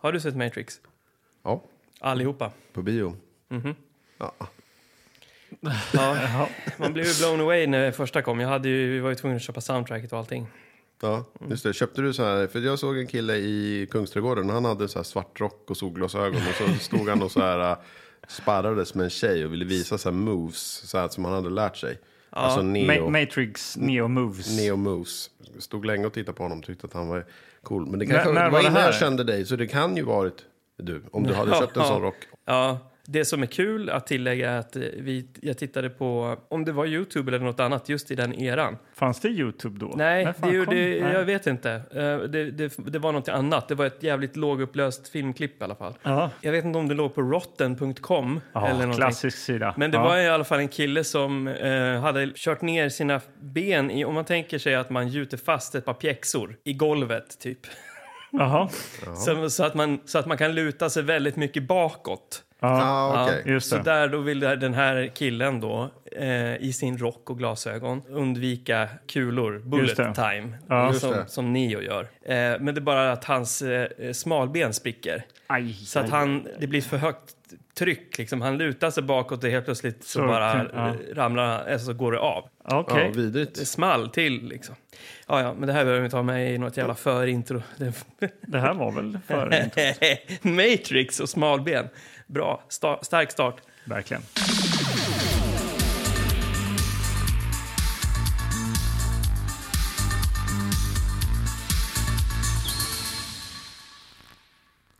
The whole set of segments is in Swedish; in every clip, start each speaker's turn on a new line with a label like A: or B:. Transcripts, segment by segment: A: Har du sett Matrix?
B: Ja,
A: Allihopa.
B: på bio.
C: Mhm.
A: Ja, man blev ju blown away när det första kom. Jag hade ju, vi var ju tvungna att köpa soundtracket och allting.
B: Ja, just det. Köpte du så här, för jag såg en kille i Kungsträdgården, han hade så här svart rock och solglasögon och så stod han och så här äh, sparrades med en tjej och ville visa så här moves så här, som han hade lärt sig. Alltså neo,
C: Ma- Matrix Neo Moves.
B: neo moves. Stod länge och tittade på honom och tyckte att han var cool. Men det
C: När-
B: kanske
C: när
B: det
C: var
B: var
C: det
B: innan
C: här?
B: jag kände dig, så det kan ju varit du. Om du hade köpt en sån rock.
A: Ja, det som är kul att tillägga är att eh, vi, jag tittade på, om det var Youtube eller något annat, just i den eran.
C: Fanns det Youtube då?
A: Nej,
C: När fan
A: det,
C: kom-
A: gjorde,
C: Nej.
A: jag vet inte. Eh, Det, det, det var något annat. Det var ett jävligt lågupplöst filmklipp i alla fall.
C: Ja,
A: Jag vet inte om det låg på rotten.com eller
C: ja
A: någonting.
C: klassisk sida.
A: Men det
C: ja.
A: var i alla fall en kille som eh, hade kört ner sina ben i, om man tänker sig att man gjuter fast ett par pjäxor i golvet typ.
C: Jaha,
A: Så, så, att man, så att man kan luta sig väldigt mycket bakåt.
C: ja,
B: Ah, okej.
C: just
A: Så
C: det.
A: där då vill den här killen då eh, i sin rock och glasögon undvika kulor, bullet
C: Just det.
A: time,
C: Ja.
A: eh,
B: Just
A: som,
B: det.
A: som Neo gör. Eh, men det är bara att hans eh, smalben spricker.
C: Aj,
A: Så att
C: aj.
A: han, det blir för högt tryck. Liksom. Han lutar sig bakåt och helt plötsligt så,
C: Så
A: bara
C: kan- ja.
A: eh, ramlar, alltså, så går det av.
C: Okej.
B: Ja, vidrigt.
A: Det small till liksom. Ja, ja, men det här behöver vi ta med i något jävla förintro. Det-
C: Det här var väl för
A: Matrix och smalben. Bra, Sta- stark start.
C: Verkligen.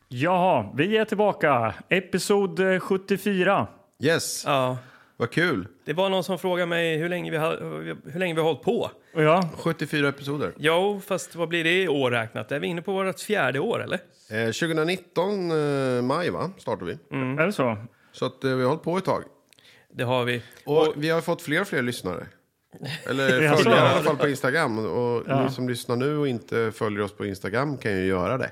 C: Ja, vi är tillbaka. Episod eh, 74.
B: Yes,
A: Ja.
B: vad kul.
A: Det var någon som frågade mig hur länge vi har, hur länge vi har hållit på.
C: Och ja,
B: 74 episoder.
A: Jo, fast vad blir det i år räknat? Är vi inne på vårt fjärde år eller?
B: Eh, 2019, eh, maj va, startar vi.
A: Mm.
C: är det så?
B: Så att, eh, vi har hållit på ett tag.
A: Det har vi.
B: Och vi har fått fler och fler lyssnare. Eller
C: Ja, så.
B: följare i alla fall på Instagram. Och ni som lyssnar nu och inte följer oss på Instagram kan ju göra det.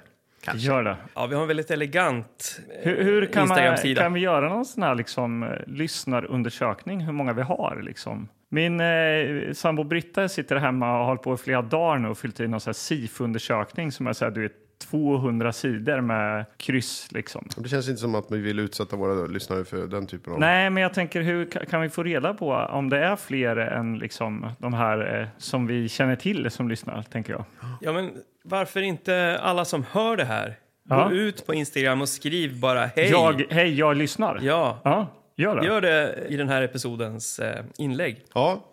C: Gör det.
A: Ja, vi har en väldigt elegant eh,
C: Hur, hur kan, man,
A: Instagram-sida.
C: kan vi göra någon sån här liksom, eh, lyssnarundersökning, hur många vi har? Liksom? Min eh, sambo Britta sitter hemma och har hållit på i flera dagar nu och fyllt i någon sån här SIFO-undersökning som är så här, du vet, 200 sidor med kryss. Liksom.
B: Det känns inte som att vi vill utsätta våra lyssnare för den typen av...
C: Nej, men jag tänker hur ka- kan vi få reda på om det är fler än liksom, de här eh, som vi känner till som lyssnar, tänker jag.
A: Ja, men varför inte alla som hör det här
C: Ja.
A: gå ut på Instagram och skriv bara hej.
C: Jag, hej, jag lyssnar.
A: Ja,
C: Ja, gör det.
A: gör det i den här episodens eh, inlägg.
B: Ja,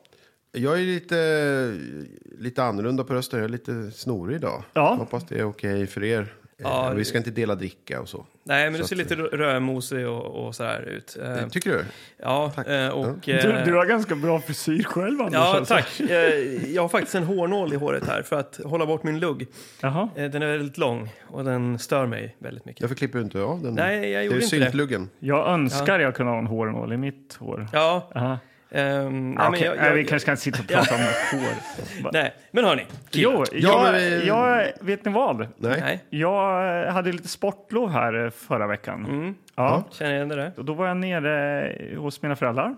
B: jag är lite, lite annorlunda på rösten. Jag är lite snorig idag.
C: Ja.
B: Hoppas det är okej för er.
A: Ja,
B: Eh, vi ska inte dela dricka och så.
A: Nej, men du
B: Så
A: ser
B: att-
A: lite rö- rödmosig och, och sådär ut. Eh,
B: Eh, Tycker du?
A: ja, eh, och...
C: Du,
A: eh,
C: du har ganska bra frisyr själv, Anders.
A: Ja,
C: alltså.
A: tack. Eh, Jag har faktiskt en hårnål i håret här för att hålla bort min lugg.
C: Jaha.
A: Eh, Den är väldigt lång och den stör mig väldigt mycket.
B: Därför klipper du inte av den.
A: Nej, jag gjorde
B: det. är
A: inte det.
B: syntluggen.
C: Jag önskar jag kunde ha en hårnål i mitt hår.
A: Ja,
C: Aha.
A: ehm, nej,
C: Ja,
A: men
C: okej.
A: jag-
C: Nej,
A: jag-
C: vi kanske kan sitta och prata om hår. Va-
A: Nej, men hörni.
C: Jo,
B: Ja,
C: jag,
B: men vi-
C: jag, vet ni vad?
B: Nej.
A: Nej,
C: Jag hade lite sportlov här eh, förra veckan.
A: Mm.
C: Ja.
A: känner igen det där.
C: Och Då var jag nere hos mina föräldrar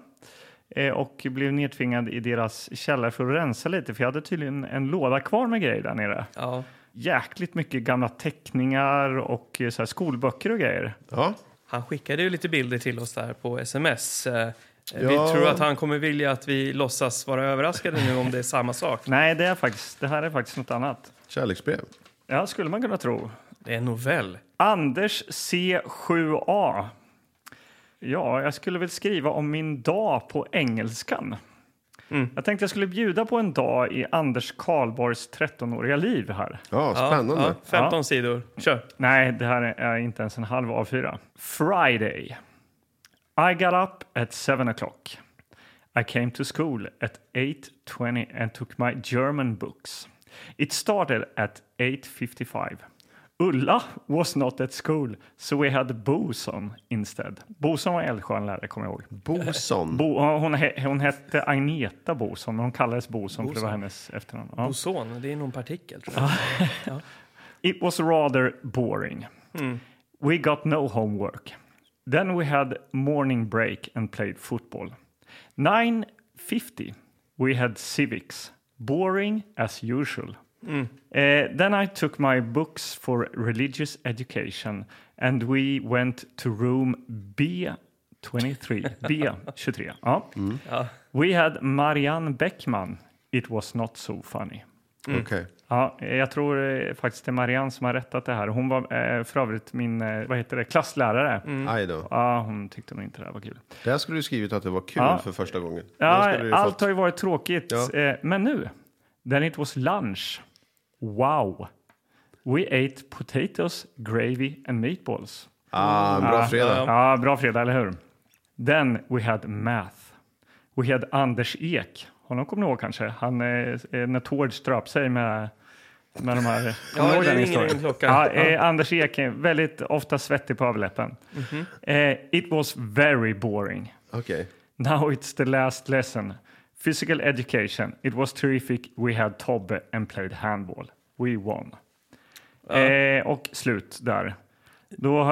C: eh, och blev nedtvingad i deras källare för att rensa lite för jag hade tydligen en låda kvar med grejer där nere.
A: Ja.
C: Jäkligt mycket gamla teckningar och eh, så här skolböcker och grejer.
B: Ja.
A: Han skickade ju lite bilder till oss där på sms. Eh, Vi
B: Ja.
A: tror att han kommer vilja att vi låtsas vara överraskade nu om det är samma sak.
C: Nej, det, är faktiskt, det här är faktiskt något annat.
B: Kärleksbrev.
C: Ja, skulle man kunna tro.
A: Det är en novell.
C: Anders C7A. Ja, jag skulle väl skriva om min dag på engelskan. Jag tänkte jag skulle bjuda på en dag i Anders Karlborgs 13-åriga liv här.
B: Ja,
A: Ja,
B: spännande.
A: ja, 15 sidor. Kör.
C: Nej, det här är inte ens en halv A4. Friday. I got up at 7 o'clock. I came to school at 8.20 and took my German books. It started at 8.55. Ulla was not at school, so we had Boson instead. Boson var Älvsjön lärare, kommer jag ihåg.
B: Boson.
C: Bo, hon, he, hon hette Agneta Boson, men hon kallades Boson, för det var hennes efternamn. Ja.
A: Ozon, det är någon partikel tror jag.
C: It was rather boring. We got no homework. Then we had morning break and played football. 9:50 we had civics. Boring as usual. Eh, then I took my books for religious education and we went to room B23. B23. Ja. ah. We had Marianne Beckman. It was not so funny.
B: Okej.
C: Ja, eh, jag tror eh, faktiskt det är Marianne som har rättat det här. Hon var eh, för övrigt min eh, vad heter det, klasslärare.
B: Aj då.
C: Ja, hon tyckte nog inte det här var kul.
B: Det här skulle du skrivit att det var kul
C: Ja.
B: för första gången. Då skulle du ju
C: Ja, allt
B: fått-
C: har ju varit tråkigt.
B: Ja.
C: Eh, Men nu, then it was lunch. Wow. We ate potatoes, gravy and meatballs.
B: Ah, en bra
C: Ja.
B: fredag.
C: Ja, bra fredag, eller hur? Then we had math. We had Anders Ek. Honom kommer ni ihåg kanske? Han, eh, eh, när Tord ströp sig med, med de här... Kommer ni ihåg
A: det
C: den
A: ringer
C: historien?
A: en klocka.
C: Ja, eh, Anders Ek är väldigt ofta svettig på överläppen. eh, it was very boring.
B: Okej.
C: Now it's the last lesson. Physical education. It was terrific. We had Tobbe and played handball. We won. Eh, och slut där. Då eh,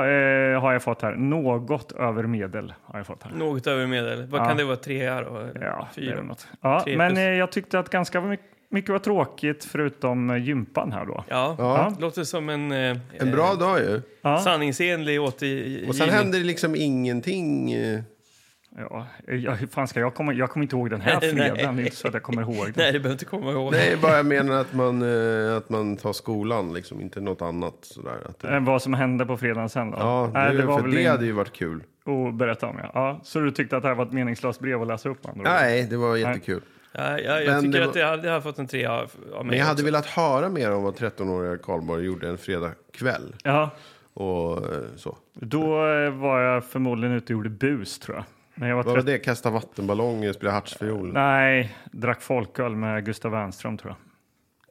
C: har jag fått här något över medel. Har jag fått här.
A: Något över medel. Vad kan det vara? Trea då?
C: Ja, det är
A: Fyra?
C: väl något. Ja,
A: Tre
C: men
A: plus.
C: eh, jag tyckte att ganska my- mycket var tråkigt förutom eh, gympan här då.
A: Ja.
B: Ja.
A: Låter som en, eh,
B: En bra dag ju.
A: eh, sanningsenlig återgivning.
B: Och sen händer det liksom ingenting. eh.
C: Ja, eh, ja, hur fan ska jag komma? Jag kommer inte ihåg den här
A: Nej.
C: fredagen. Det är inte så att jag kommer ihåg den.
A: Nej, det behöver inte komma ihåg.
B: Nej, bara jag menar att man, eh, att man tar skolan liksom, inte något annat sådär. Att det...
C: Eh, Vad som hände på fredagen sen då?
B: Ja, det,
C: Nej,
B: är för det
C: in-
B: hade ju varit kul.
C: och berätta om. Ja. Ja, så du tyckte att det här var ett meningslöst brev att läsa upp? med andra ord?
B: Nej, det var jättekul.
A: Ja, jag
B: Men
A: jag tycker
B: det
A: att det hade, det hade fått en trea av av mig.
B: Men jag hade
A: också.
B: velat höra mer om vad 13-åriga Karlborg gjorde en fredagkväll.
C: Ja,
B: Och eh, så.
C: då eh, var jag förmodligen ute och gjorde bus tror jag. När jag var
B: Vad var
C: 30
B: det? Kasta vattenballonger, spela hartsfiol.
C: Nej, drack folköl med Gustav Wernström tror jag.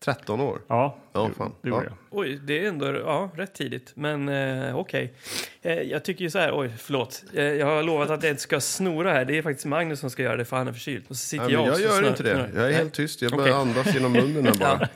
B: 13 år?
C: Ja,
B: Ja, fan.
C: det gjorde
B: Ja.
C: jag.
A: Oj, det är ändå ja, rätt tidigt. Men eh, okej. Eh, jag tycker ju så här, oj, förlåt. Eh, jag har lovat att jag inte ska snora här. Det är faktiskt Magnus som ska göra det för han är förkyld. Och så sitter
B: Nej,
A: jag
B: men jag
A: också
B: gör
A: och snör-
B: inte det.
A: snör.
B: Jag är
A: Nej.
B: helt tyst. Jag bara
A: Okej.
B: andas genom munnen här bara.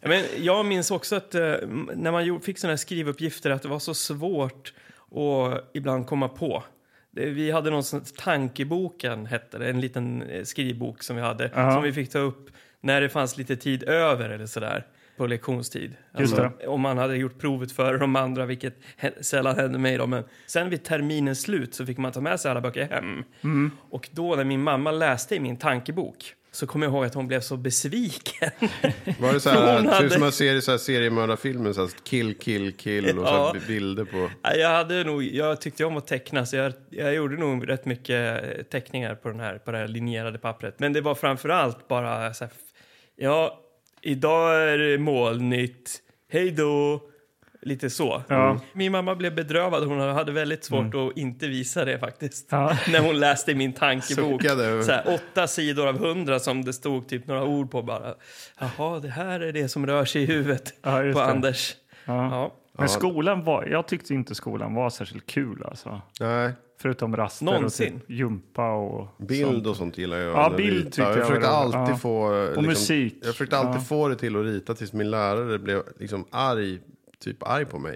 A: Ja, Men jag minns också att eh, m- när man gjorde- fick sådana här skrivuppgifter att det var så svårt att ibland komma på. Det- Vi hade någon sån tankeboken, hette det, en liten eh, skrivbok som vi hade
C: Ja.
A: som vi fick ta upp när det fanns lite tid över eller sådär på lektionstid. Alltså,
C: Just
A: Om man hade gjort provet före de andra, vilket hä- sällan hände mig. Då, men sen vid terminens slut så fick man ta med sig alla böcker hem. Och då när min mamma läste i min tankebok så kom jag ihåg att hon blev så besviken.
B: Var det så här,
A: Hon
B: det ser ut
A: hade-
B: som man ser i så här seriemördarfilmer, så här, kill, kill, kill och så här, bilder på...
A: Nej, Jag, hade nog, jag tyckte om att teckna, så jag, jag gjorde nog rätt mycket eh, teckningar på, den här, på det här linjerade pappret. Men det var framför allt bara så här, f- ja, idag är det molnigt, hej då, lite så. Mm.
C: Ja. Mm.
A: Min mamma blev bedrövad, hon hade väldigt svårt att inte visa det faktiskt.
C: Ja.
A: När hon läste i min tankebok,
B: Suckade över.
A: så här, åtta sidor av hundra som det stod typ några ord på bara. Jaha, det här är det som rör sig i huvudet
C: Ja, just
A: på
C: det.
A: Anders. Ja.
C: Men skolan var, jag tyckte inte skolan var särskilt kul alltså.
B: Nej,
C: Förutom raster
A: Någonsin.
C: och typ gympa och...
B: bild och sånt gillar jag.
C: Ja,
B: när
C: bild
B: ritar.
C: tyckte jag
B: jag
C: var
B: försökte
C: roligt.
B: alltid
C: Ja.
B: få... eh, Liksom,
C: musik.
B: Jag försökte alltid få det till att rita tills min lärare blev liksom arg, typ arg på mig.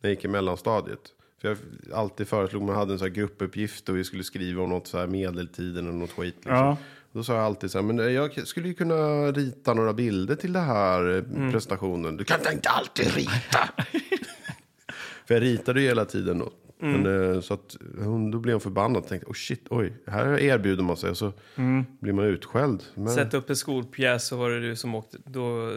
B: När jag gick i mellanstadiet. För jag alltid föreslog, man hade en så här gruppuppgift och vi skulle skriva om något så här medeltiden eller något skit. Liksom.
C: Ja.
B: Då sa jag alltid så här, men eh, jag skulle ju kunna rita några bilder till den här eh,
C: Mm.
B: presentationen. Du kan inte alltid rita! För jag ritade ju hela tiden då.
A: Mm.
B: Men, eh, så att hon, då blev hon förbannad och tänkte, oh shit, oj, här erbjuder man sig. Och så
A: Mm.
B: blir man utskälld. Men,
A: Sätta upp en skolpjäs så var det du som åkte. Då eh,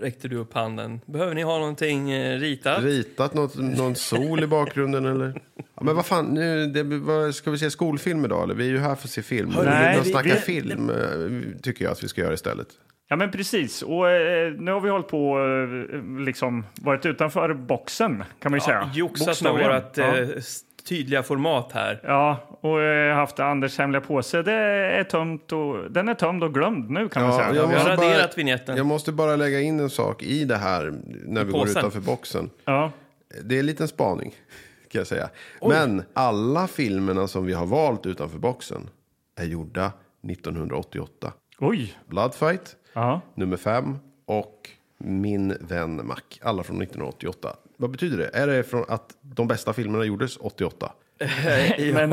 A: räckte du upp handen. Behöver ni ha någonting eh, ritat?
B: Ritat något, någon sol i bakgrunden eller? Ja, men vad fan, nu, det, vad, ska vi se skolfilm idag eller? Vi är ju här för att se film.
A: Hörru,
B: Nej,
C: nej,
B: vi,
C: vi-
B: snacka
A: vi-
B: film eh, tycker jag att vi ska göra istället.
C: Ja men precis, och eh, nu har vi hållit på eh, liksom varit utanför boxen kan man ju säga.
A: Joxat med
C: Bokstavligen.
A: vårt
C: Ja.
A: eh, s- tydliga format här.
C: Ja, och eh, haft Anders hemliga påse. Det är tömt och, den är tömd och glömd nu kan man
B: Ja,
C: säga.
B: jag
A: Vi har
B: måste bara-
A: raderat vignetten.
B: Jag måste bara lägga in en sak i det här när vi går
A: påsen.
B: utanför boxen.
C: Ja,
B: Det är en liten spaning, kan jag säga. Men alla filmerna som vi har valt utanför boxen är gjorda 1988.
C: oj,
B: Bloodfight,
C: ja.
B: nummer fem och Min vän Mac. Alla från 1988. Vad betyder det? Är det från att de bästa filmerna gjordes 88?
C: Men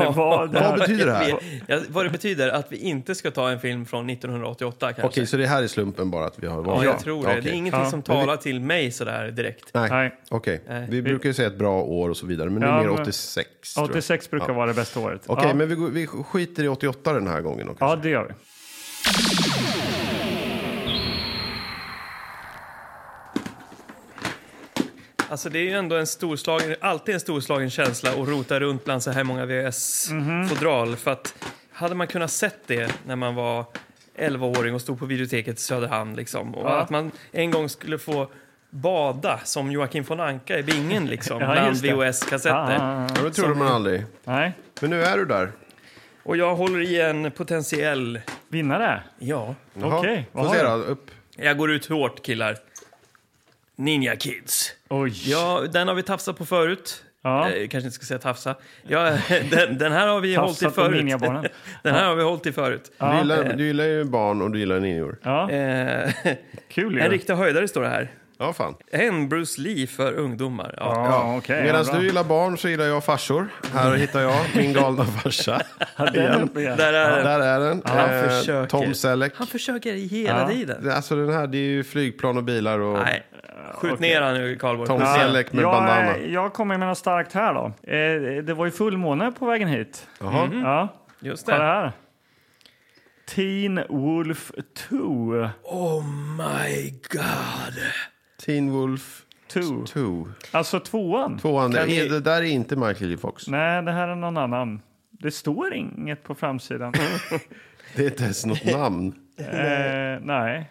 A: Ja.
C: vad, det
B: Eh, Vad
C: här,
B: betyder det här?
A: Jag
B: Okej,
A: vet- ja, vad det betyder att vi inte ska ta en film från 1988 kanske.
B: så det här är slumpen bara att vi har
A: ja,
B: varit?
A: jag tror det. Det är ingenting
C: Ja.
A: som
B: Men vi-
A: talar till mig sådär direkt.
B: Nej,
C: Nej.
B: okej.
A: Nej.
B: Vi brukar ju säga ett bra år och så vidare, men det
C: Ja,
B: är mer
C: men-
B: 86. tror jag.
C: 86 brukar vara det bästa året.
B: Okej,
C: ja.
B: men vi, går- vi skiter i 88 den här gången. då
C: ja,
B: kanske.
C: det gör vi.
A: Alltså det är ju ändå en storslagen, alltid en storslagen känsla att rota runt bland så här många VHS-fodral. För att hade man kunnat sett det när man var 11-åring och stod på biblioteket i Söderhamn liksom. Och
C: Ja.
A: att man en gång skulle få bada som Joakim von Anka i bingen liksom.
C: Ja,
A: bland
C: just det.
A: VHS-kassetter.
C: Ah,
B: Ja, det trodde man aldrig.
C: nej,
B: Men nu är du där.
A: Och jag håller i en potentiell...
C: vinnare.
A: Ja.
B: Jaha.
C: Okej, vad
B: Få
C: har
B: se
C: du?
B: då. Upp.
A: Jag går ut hårt killar. Ninja Kids.
C: Oj.
A: Ja, den har vi tafsat på förut.
C: Ja.
A: Eh, kanske inte ska säga tafsa. Ja, den, den här har vi hållit i
C: Tafsat på
A: förut.
C: ninjabarnen.
A: Den här har vi hållit i förut.
B: Du,
C: Ja, eh.
B: gillar, du gillar ju barn och du gillar ninjor.
C: ja,
A: Eh,
C: kul ju.
A: en riktig höjdare står det här.
B: Ja, fan.
A: En Bruce Lee för ungdomar. Ja.
C: Ja, okej.
B: Medan
C: ja, bra.
B: du gillar barn så gillar jag farsor. Här hittar jag min galna farsa.
C: Ja, den är uppe igen.
A: Där är den.
B: Där är den.
A: Han
B: Eh,
A: försöker.
B: Tom Selleck.
A: Han försöker hela
C: Ja.
A: tiden.
B: Alltså den här, det är ju flygplan och bilar och
A: Nej, skjut
C: okej.
A: ner han nu, Karlborg.
B: Tom Selleck med
C: jag,
B: bandana.
C: eh, jag kommer med något starkt här då. Eh, det var ju fullmåne på vägen hit. Mm.
B: Jaha.
C: Ja,
A: Just
C: kolla
A: det.
C: här. Teen Wolf 2.
A: Oh my god.
B: Teen Wolf
C: 2.
B: 2.
C: Alltså tvåan.
B: Tvåan, det,
A: Kan
B: är-
A: vi-
B: det där är inte Michael J. Fox.
C: Nej, det här är någon annan. Det står inget på framsidan.
B: Det är inte ens något namn.
C: eh, nej.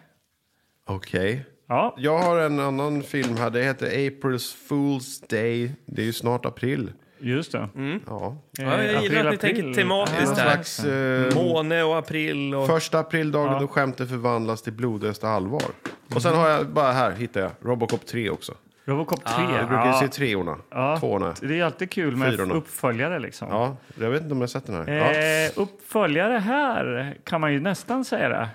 B: Okej.
C: Ja,
B: Jag har en annan film här. Det heter April's Fool's Day. Det är ju snart april.
C: just det. Eh,
B: Ja.
A: Mm. Ja, jag gillar att ni tänker
B: Det är någon
A: tematiskt här.
B: slags...
C: Mm.
B: Eh,
A: Måne och april och...
B: Första aprildagen då skämtet förvandlas till blodöst allvar. Och
C: Mm.
B: sen har jag, bara här hittar jag, Robocop 3 också.
C: Robocop 3.
B: Jag brukar ju se treorna, tvåorna.
C: Det är alltid kul med
B: Fyrorna.
C: uppföljare liksom.
B: Ja, jag vet inte om jag har sett den här. Ja.
C: Eh, uppföljare här kan man ju nästan säga det.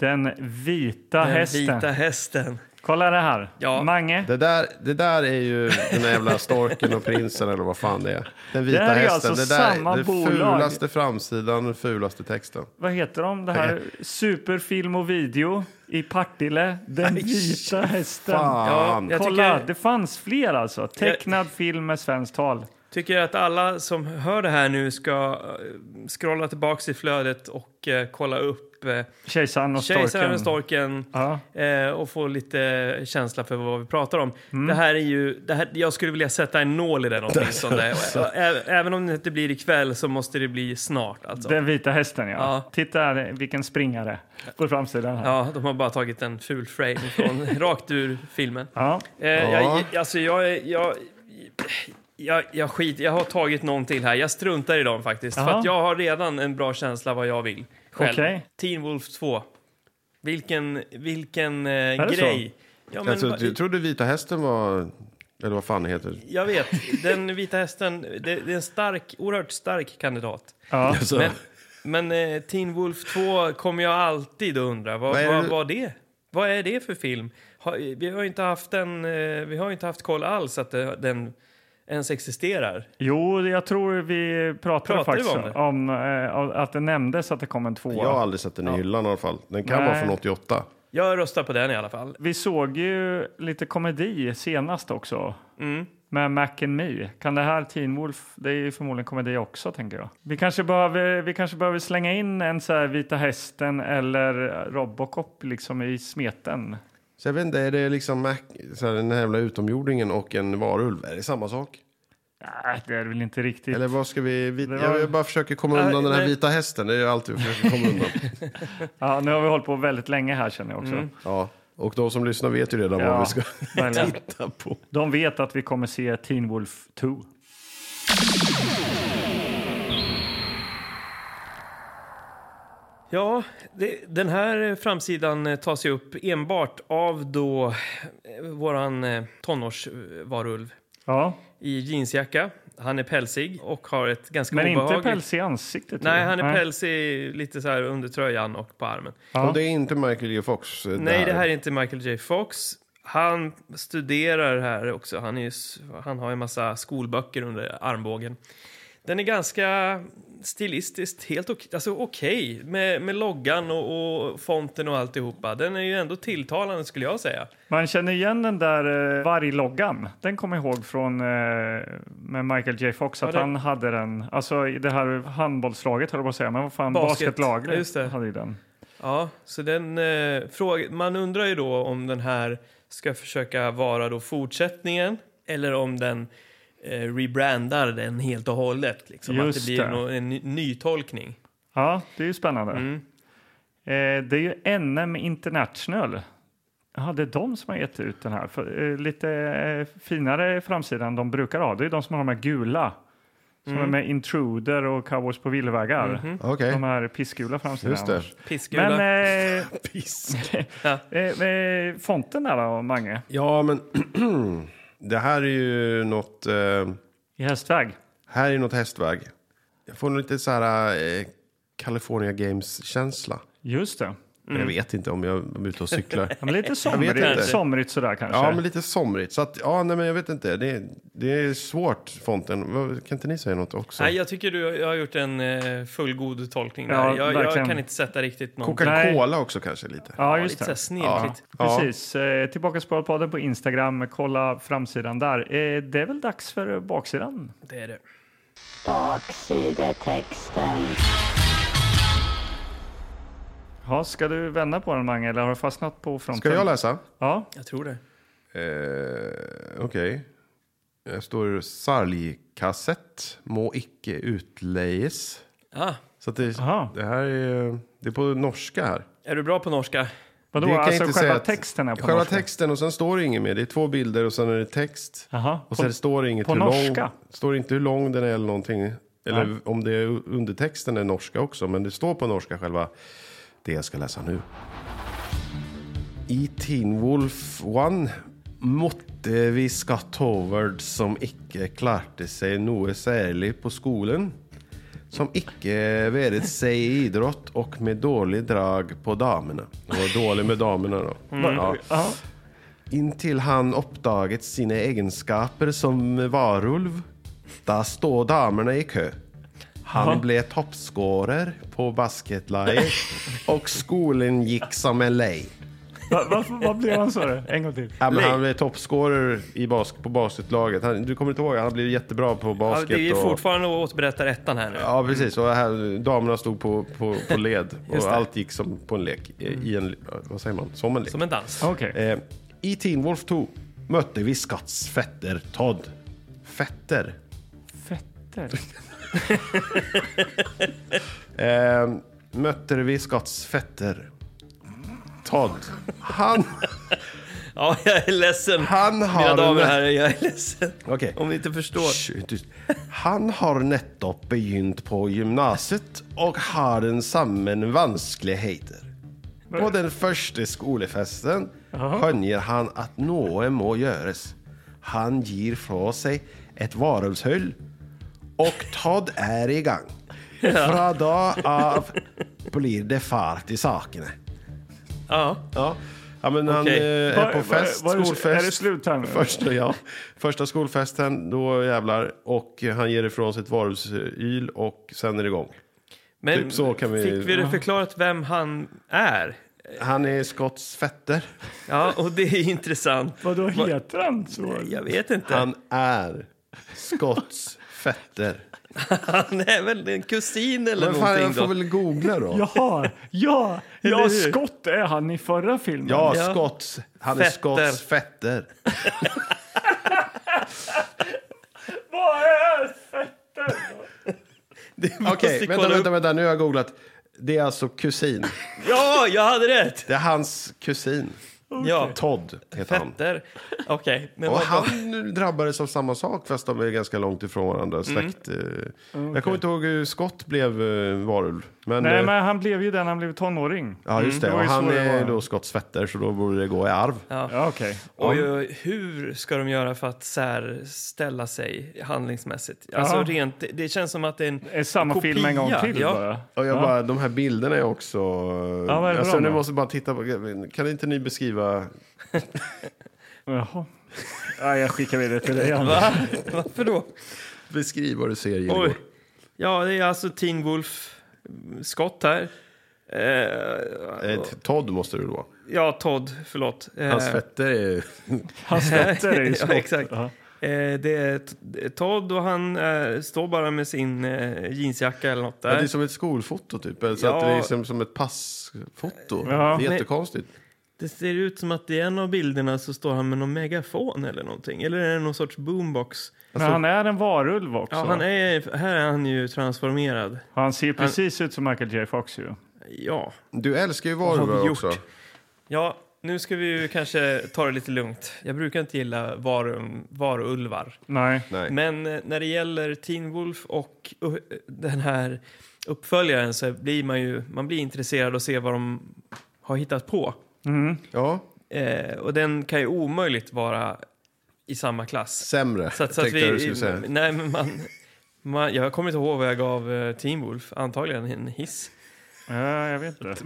C: Den vita
A: Den
C: hästen.
A: vita hästen.
C: Kolla det här.
A: Ja.
C: Mange.
B: Det, där, det där är ju den där jävla storken och prinsen eller vad fan det är. Den vita
C: Det här är
B: hästen.
C: alltså
B: det där
C: samma
B: det
C: bolag.
B: fulaste framsidan, den fulaste texten.
C: Vad heter de? Det här Superfilm och video i Partille. Den vita hästen.
B: Fan.
A: Ja, jag
C: Kolla,
A: tycker-
C: det fanns fler alltså. Tecknad film med svenskt tal.
A: Tycker att alla som hör det här nu ska eh, scrolla tillbaks i flödet och eh, kolla upp eh,
C: Kejsaren och storken.
A: Kejsaren och storken
C: Ja.
A: eh, och få lite känsla för vad vi pratar om.
C: Mm.
A: Det här är ju, det här, jag skulle vilja sätta en nål i den åtminstone. Ä- ä- Även om det inte blir ikväll så måste det bli snart alltså.
C: Den vita hästen, ja.
A: Ja.
C: Titta här, vilken springare på framsidan. Här. Ja.
A: Ja, de har bara tagit en ful frame från, rakt ur filmen.
C: Ja.
A: Eh,
B: Ja.
A: jag, alltså jag, är- jag, jag, jag, skit, jag har tagit någon till här. Jag struntar i dem faktiskt. För
C: Jaha.
A: att jag har redan en bra känsla vad jag vill själv.
C: Okej.
A: Teen Wolf 2. Vilken, vilken eh,
C: det så?
A: grej. Ja, men,
B: alltså,
A: va-
B: jag trodde vita hästen var, eller vad fan det heter.
A: jag vet, den vita hästen, det, det är en stark, oerhört stark kandidat.
B: Alltså,
A: Men, men eh, Teen Wolf 2 kommer jag alltid att undra. Vad,
B: Vad
A: vad,
B: är
A: vad,
B: det-
A: var det? Vad är det för film? Har, vi har ju inte haft en, eh, vi har ju inte haft koll alls att det, den ens existerar.
C: Jo, jag tror vi pratade,
A: Pratade vi
C: faktiskt
A: om det?
C: om, eh, att det nämndes att det kom en tvåa.
B: jag har aldrig sett den i hyllan i alla fall. Den kan
C: Nej.
B: vara från 88.
A: Jag röstar på den i alla fall.
C: Vi såg ju lite komedi senast också.
A: Mm.
C: Med Mac and Me. Kan det här Teen Wolf, det är ju förmodligen komedi också tänker jag. Vi kanske behöver, vi kanske behöver slänga in en så här Vita Hästen eller Robocop liksom i smeten.
B: Så jag vet inte, är det liksom Mac, så här, den här jävla utomjordingen och en varulv? Är det samma sak?
C: Nej, Äh, det är väl inte riktigt.
B: Eller vad ska vi... vi
C: Det var-
B: jag, jag bara försöker komma
A: Nej,
B: undan den här
A: nej.
B: vita hästen. Det är ju allt vi försöker komma undan.
C: Ja, nu har vi hållit på väldigt länge här känner jag också.
B: Ja. Och de som lyssnar vet ju redan
C: Ja.
B: vad Mm. vi ska
C: Men, eh,
B: titta på.
C: de vet att vi kommer se Teen Wolf 2.
A: Ja, det, den här framsidan eh, tas ju upp enbart av då eh, våran eh, tonårsvarulv
C: Ja,
A: i jeansjacka. Han är pälsig och har ett ganska
C: men
A: obehagligt...
C: inte päls i ansiktet. tror
A: Nej,
C: jag.
A: han är pälsig lite så här under tröjan och på armen.
C: Ja.
B: Och det är inte Michael J. Fox. eh,
A: Nej, det här är inte Michael J. Fox. Han studerar här också. Han, är ju, s- han har en massa skolböcker under armbågen. Den är ganska stilistiskt helt okej, alltså okej med, med loggan och, och fonten och alltihopa. Den är ju ändå tilltalande skulle jag säga.
C: Man känner igen den där eh, vargloggan. Den kommer jag ihåg från eh, med Michael J Fox. Att
A: det-
C: han hade den. Alltså i det här handbollslaget höll jag på att säga. Men vad fan,
A: Basket.
C: basketlaget
A: Just det.
C: hade ju den.
A: Ja, så den eh, fråga, man undrar ju då om den här ska försöka vara då fortsättningen eller om den eh, rebrandar den helt och hållet. Liksom. Att det
C: Just
A: blir
C: det.
A: nå- en ny, ny tolkning.
C: Ja, det är ju spännande.
A: Mm.
C: Eh, det är ju NM International. Ja, det är de som har gett ut den här. För, eh, lite eh, finare framsida än de brukar ha. Det är de som har de här gula. Som
A: Mm.
C: är med Intruder och Cowboys på villvägar.
A: Mhm.
B: Okej,
C: De här pissgula framsidorna.
B: just det.
C: annars.
A: Pissgula.
C: Men eh,
B: Piss.
C: eh, eh, fonten där då, Mange?
B: Ja, men det här är ju något... Eh,
C: I hästväg?
B: här är något hästväg. Jag får nog lite så här eh, California Games-känsla.
C: Just det.
A: Mm.
B: Men Jag vet inte om jag om jag är ute och cyklar.
C: Ja, men lite
B: vet inte.
C: somrigt, somrigt sådär kanske.
B: Ja, men lite somrigt. Så att, ja, nej, men jag vet inte. Det, det är svårt, fonten. Vad- Kan inte ni säga något också?
A: Nej, jag tycker du jag har gjort en eh, fullgod tolkning där.
C: Ja,
A: jag, jag
C: verkligen.
A: kan inte sätta riktigt någon...
B: Coca-Cola också kanske lite.
C: Ja,
A: Ja,
C: just
A: lite
C: det.
A: såhär snirkligt.
B: Ja.
C: Precis. Eh, tillbaka Sparpodden på Instagram. Kolla framsidan där. Eh, det är väl dags för baksidan.
A: Det är det.
D: Baksidetexten.
C: Ja, ska du vända på den, Mange, eller har du fastnat på fronten?
B: Ska jag läsa?
C: Ja,
A: Jag tror det.
B: Eh, Okej. Här står sargkassett må icke utlejes.
A: Ah,
B: Så att det,
C: Aha.
B: det här är, det är på norska här.
A: är du bra på norska?
C: vadå?
B: Det kan jag
C: Alltså
B: inte
C: själva
B: säga att-
C: texten är på
B: Själva
C: norska?
B: texten och sen står det inget mer. Det är två bilder och sen är det text.
C: Jaha,
B: Och sen
C: på-
B: står det inget
C: på
B: hur
C: norska?
B: lång, står inte hur lång den är eller någonting. Eller om det är undertexten är norska också. Men det står på norska själva det jag ska läsa nu. I Teen Wolf 1 måtte vi skattoverd som icke klarte sig noe særlig på skolen. Som icke været sig i idrott och med dålig drag på damerna. Det var dålig med damerna då. Ja.
C: Mm. Ja.
B: Intill han uppdaget sina egenskaper som varulv. Där står damerna i kö. Han blev toppscorer på basketlaget och skolan gick som en lej.
C: Va, varför, vad blev han så? En gång till.
B: Ja, men han blev toppscorer i bas på basketlaget. Han, du kommer inte ihåg, han blev jättebra på
A: Ja,
B: basket.
A: det är ju
B: och-
A: fortfarande att återberätta ettan här nu.
B: Ja, precis. Och här, damerna stod på, på, på led och allt gick som på en lek. I i en, vad säger man? Som en lek.
A: Som en dans.
C: Okej.
B: Eh, I Teen Wolf 2 mötte vi Scotts fetter Todd. Fetter?
C: Fetter.
B: Eh, mötte vi Scotts fetter Todd. Han,
A: Ja, jag är ledsen.
B: han
A: Mina
B: har...
A: damer och herrar, jag är ledsen.
B: Okej.
A: Om ni inte förstår.
B: Shh, tyst. Han har nettopp begynt på gymnasiet och har den samman vanskligheter. På den första skolefesten skönjer han att något må göras. Han ger från sig ett varulvshöll och Todd är igång. Från dag av blir det fart i sakerna.
A: Ja.
B: Ja, ja men han
A: Okej.
B: eh,
C: Var-
B: är på fest,
C: var- var det-
B: skolfest.
C: är det slut här nu?
B: Första, ja, första skolfesten, då jävlar. Och eh, han ger ifrån sig ett varulvsyl och sen är det igång.
A: Men
B: Typ så kan vi-
A: fick vi det förklarat vem han är?
B: Han är Scotts fetter.
A: Ja, och det är intressant.
C: Vadå, heter han så?
A: Jag vet inte. Han,
B: Han är Scotts fetter.
A: är väl en kusin eller
B: Men fan,
A: någonting
B: jag får
A: då.
B: väl googla då. Ja,
C: Jaha, ja,
A: Eller
C: ja,
A: hur?
C: Scott är han i förra filmen.
A: Ja.
B: Scotts. Han är
A: Fetter.
B: Scotts fetter.
C: Vad är
B: Okej, vänta,
A: kolla
B: vänta,
A: upp.
B: vänta, nu har jag googlat. Det är alltså kusin.
A: Ja, jag hade rätt!
B: Det är hans kusin.
A: Ja,
B: Todd heter han.
A: Petter. Okej, men
B: Och
A: vad bra.
B: han drabbades av samma sak fast de är ganska långt ifrån
C: Mm.
B: varandra. Släkt. eh. Jag kommer inte ihåg hur Scott blev eh, varulv. Men, eh,
C: Nej, men han blev ju den, han blev tonåring.
B: Ja, just det.
C: det var
B: och
C: ju
B: han
C: så det
B: är
C: var.
B: då Scotts fetter så då borde det gå i arv.
C: Ja, okej.
A: Oj, oj, oj, hur ska de göra för att särställa sig handlingsmässigt? Alltså
C: Ja.
A: rent, det, det känns som att det är en
C: Det är samma
A: kopia.
C: film en gång till
A: ja.
C: bara.
B: Och jag bara, de här bilderna är också...
C: vad är det
B: alltså,
C: bra
B: nu
C: med?
B: måste jag bara titta på... Kan inte ni beskriva...
C: Jaha. Ja, jag skickar vidare till dig. Anders.
A: Va? Varför då?
B: Beskriv vad du ser, Gilgård.
A: Oj. Ja, det är alltså Teen Wolf-skott här. Eh,
B: Eh, Todd måste det vara.
A: ja, Todd, förlåt. Eh,
B: Hans fetter är...
C: Hans fötter är ju
A: Ja,
C: skott.
A: exakt.
C: Ja.
A: eh, det är T- Todd och han eh, står bara med sin eh, jeansjacka eller något
B: Ja, det
A: där.
B: är som ett skolfoto typ. Eller så
A: Ja.
B: att det är som, som ett passfoto.
C: Ja.
B: det är
A: Men-
B: jättekonstigt.
A: Det ser ut som att i en av bilderna så står han med någon megafon eller någonting. Eller är det någon sorts boombox?
C: Men
B: Alltså-
C: han är en varulv också.
A: Ja, han är, här är han ju transformerad.
C: Han ser precis ut som Michael J Fox ju.
A: Ja.
B: Du älskar ju
A: Vad har vi
B: varulvar
A: gjort?
B: också.
A: Ja, nu ska vi ju kanske ta det lite lugnt. Jag brukar inte gilla varum, varulvar.
C: Nej.
B: Nej.
A: Men eh, när det gäller Teen Wolf och uh, den här uppföljaren så blir man ju man blir intresserad och ser vad de har hittat på.
C: Mm.
B: Ja,
A: Eh, och den kan ju omöjligt vara i samma klass.
B: sämre
A: Så att, så att
B: tänkte jag du skulle
A: vi,
B: säga.
A: nej, men man, man, jag kommer inte ihåg vad jag gav eh, Teen Wolf, antagligen en hiss.
C: Ja, jag vet inte.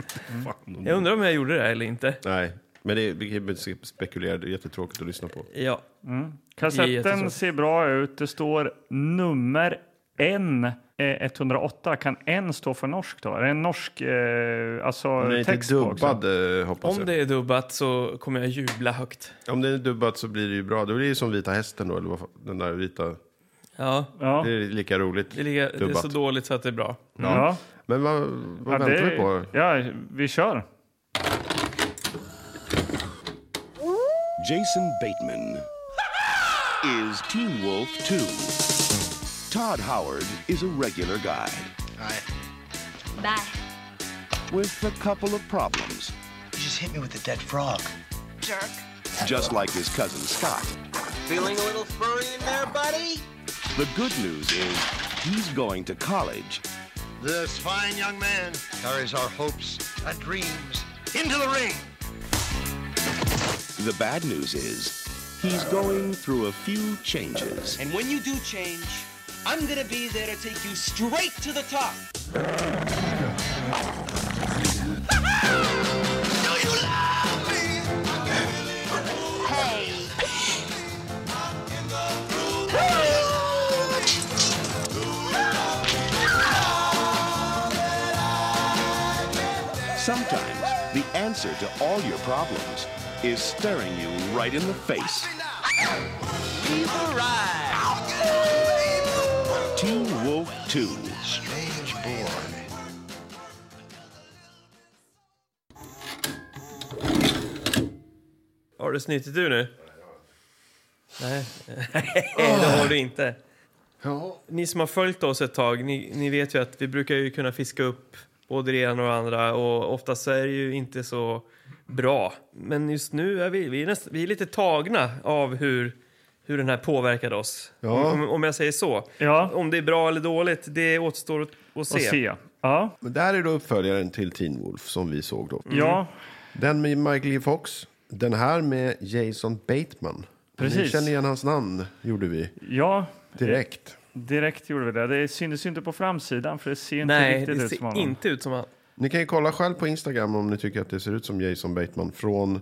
A: Mm. Jag undrar om jag gjorde det eller inte.
B: Nej, men det, vi kan ju spekulera. Det är jättetråkigt att lyssna på.
A: Ja,
C: Mm. Kassetten
A: Jättesvårt.
C: ser bra ut. Det står nummer N. eh, 108, kan N stå för norsk då? Är det en norsk eh, alltså
B: Om den är
C: text
B: inte
C: på också?
B: dubbad eh, hoppas
A: om
B: jag.
A: det är dubbat så kommer jag jubla högt.
B: Om den är dubbad så blir det ju bra. Det blir ju som Vita Hästen då, eller vad fa- den där vita.
A: Ja,
C: Ja.
B: Det är lika roligt.
A: det, ligger, det är
B: Dubbat.
A: så dåligt så att det är bra.
C: Ja.
B: Men vad,
C: Ja,
B: vad
C: det-
B: väntar vi på?
C: ja, vi kör.
D: Jason Bateman is Teen Wolf 2. Todd Howard is a regular guy
E: Alright.
F: Bye.
D: with a couple of problems,
E: You just hit me with a dead frog.
F: Jerk.
D: just like his cousin Scott.
E: Feeling a little furry in there, buddy?
D: The good news is he's going to college
E: This fine young man carries our hopes and dreams into the ring.
D: The bad news is he's going through a few changes.
G: And when you do change, I'm gonna be there to take you straight to the top.
F: Hey.
D: Sometimes the answer to all your problems is staring you right in the face. Teen Wolf 2.
E: Strange boy.
A: Har du snytit ur nu? Nej, Nej, det har du inte.
B: Ja.
A: Ni som har följt oss ett tag, ni, ni vet ju att vi brukar ju kunna fiska upp både det ena och det andra och oftast så är det ju inte så bra. Men just nu är vi, vi, är näst, vi är lite tagna av hur, hur den här påverkade oss.
B: Ja.
A: Om, om jag säger så.
C: Ja.
A: Om det är bra eller dåligt, det återstår att, att se.
C: Och se. Ja.
B: Men där är då uppföljaren till Teen Wolf som vi såg då.
C: ja,
B: Den med Michael J. Fox. Den här med Jason Bateman. Ni
C: Precis.
B: känner igen hans namn, gjorde vi
C: ja.
B: direkt.
C: Direkt gjorde vi det. Det syntes ju inte på framsidan för det ser inte
A: Nej,
C: riktigt
A: det
C: ut som
A: ser
C: honom.
A: inte ut som han.
B: Ni kan ju kolla själv på Instagram om ni tycker att det ser ut som Jason Bateman från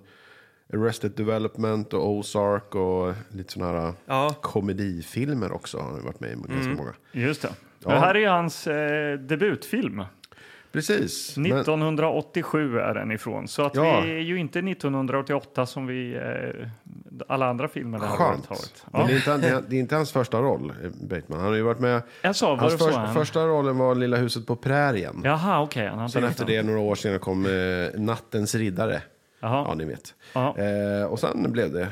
B: Arrested Development och Ozark och lite sådana här
A: Ja.
B: komedifilmer också har han ju varit med i ganska
C: Mm.
B: många.
C: Just det.
B: Ja.
C: Det här är hans eh, debutfilm.
B: Precis. men-
C: 1987 är den ifrån. Så att
B: Ja.
C: vi är ju inte 1988 som vi eh, alla andra filmer det här året
B: Skönt.
C: har varit.
B: Men det, är
C: Ja.
B: inte, han- det är- det är inte hans första roll, eh, Bateman. Han har ju varit med...
C: Jag sa, var
B: hans
C: det så han-
B: första rollen var Lilla huset på prärien.
C: Jaha, okej. han har
B: Sen
C: inte
B: efter
C: gjort
B: det,
C: den.
B: några år senare, kom eh, Nattens riddare.
C: Jaha.
B: Ja, ni vet.
C: Ja.
B: Eh, och sen blev det...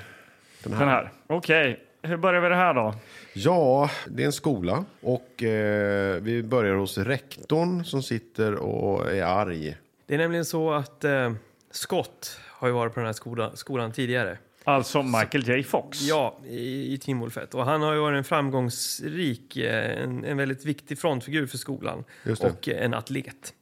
C: Den här. Okej, hur börjar vi det här då?
B: Ja, det är en skola. Och eh, vi börjar hos rektorn som sitter och är arg.
A: Det är nämligen så att eh, Scott har ju varit på den här skola, skolan tidigare.
C: Alltså Michael J Fox.
A: Ja, i, i Team Wolf 1. Och han har ju varit en framgångsrik, eh, en, en väldigt viktig frontfigur för skolan.
B: Just det.
A: Och eh, en atlet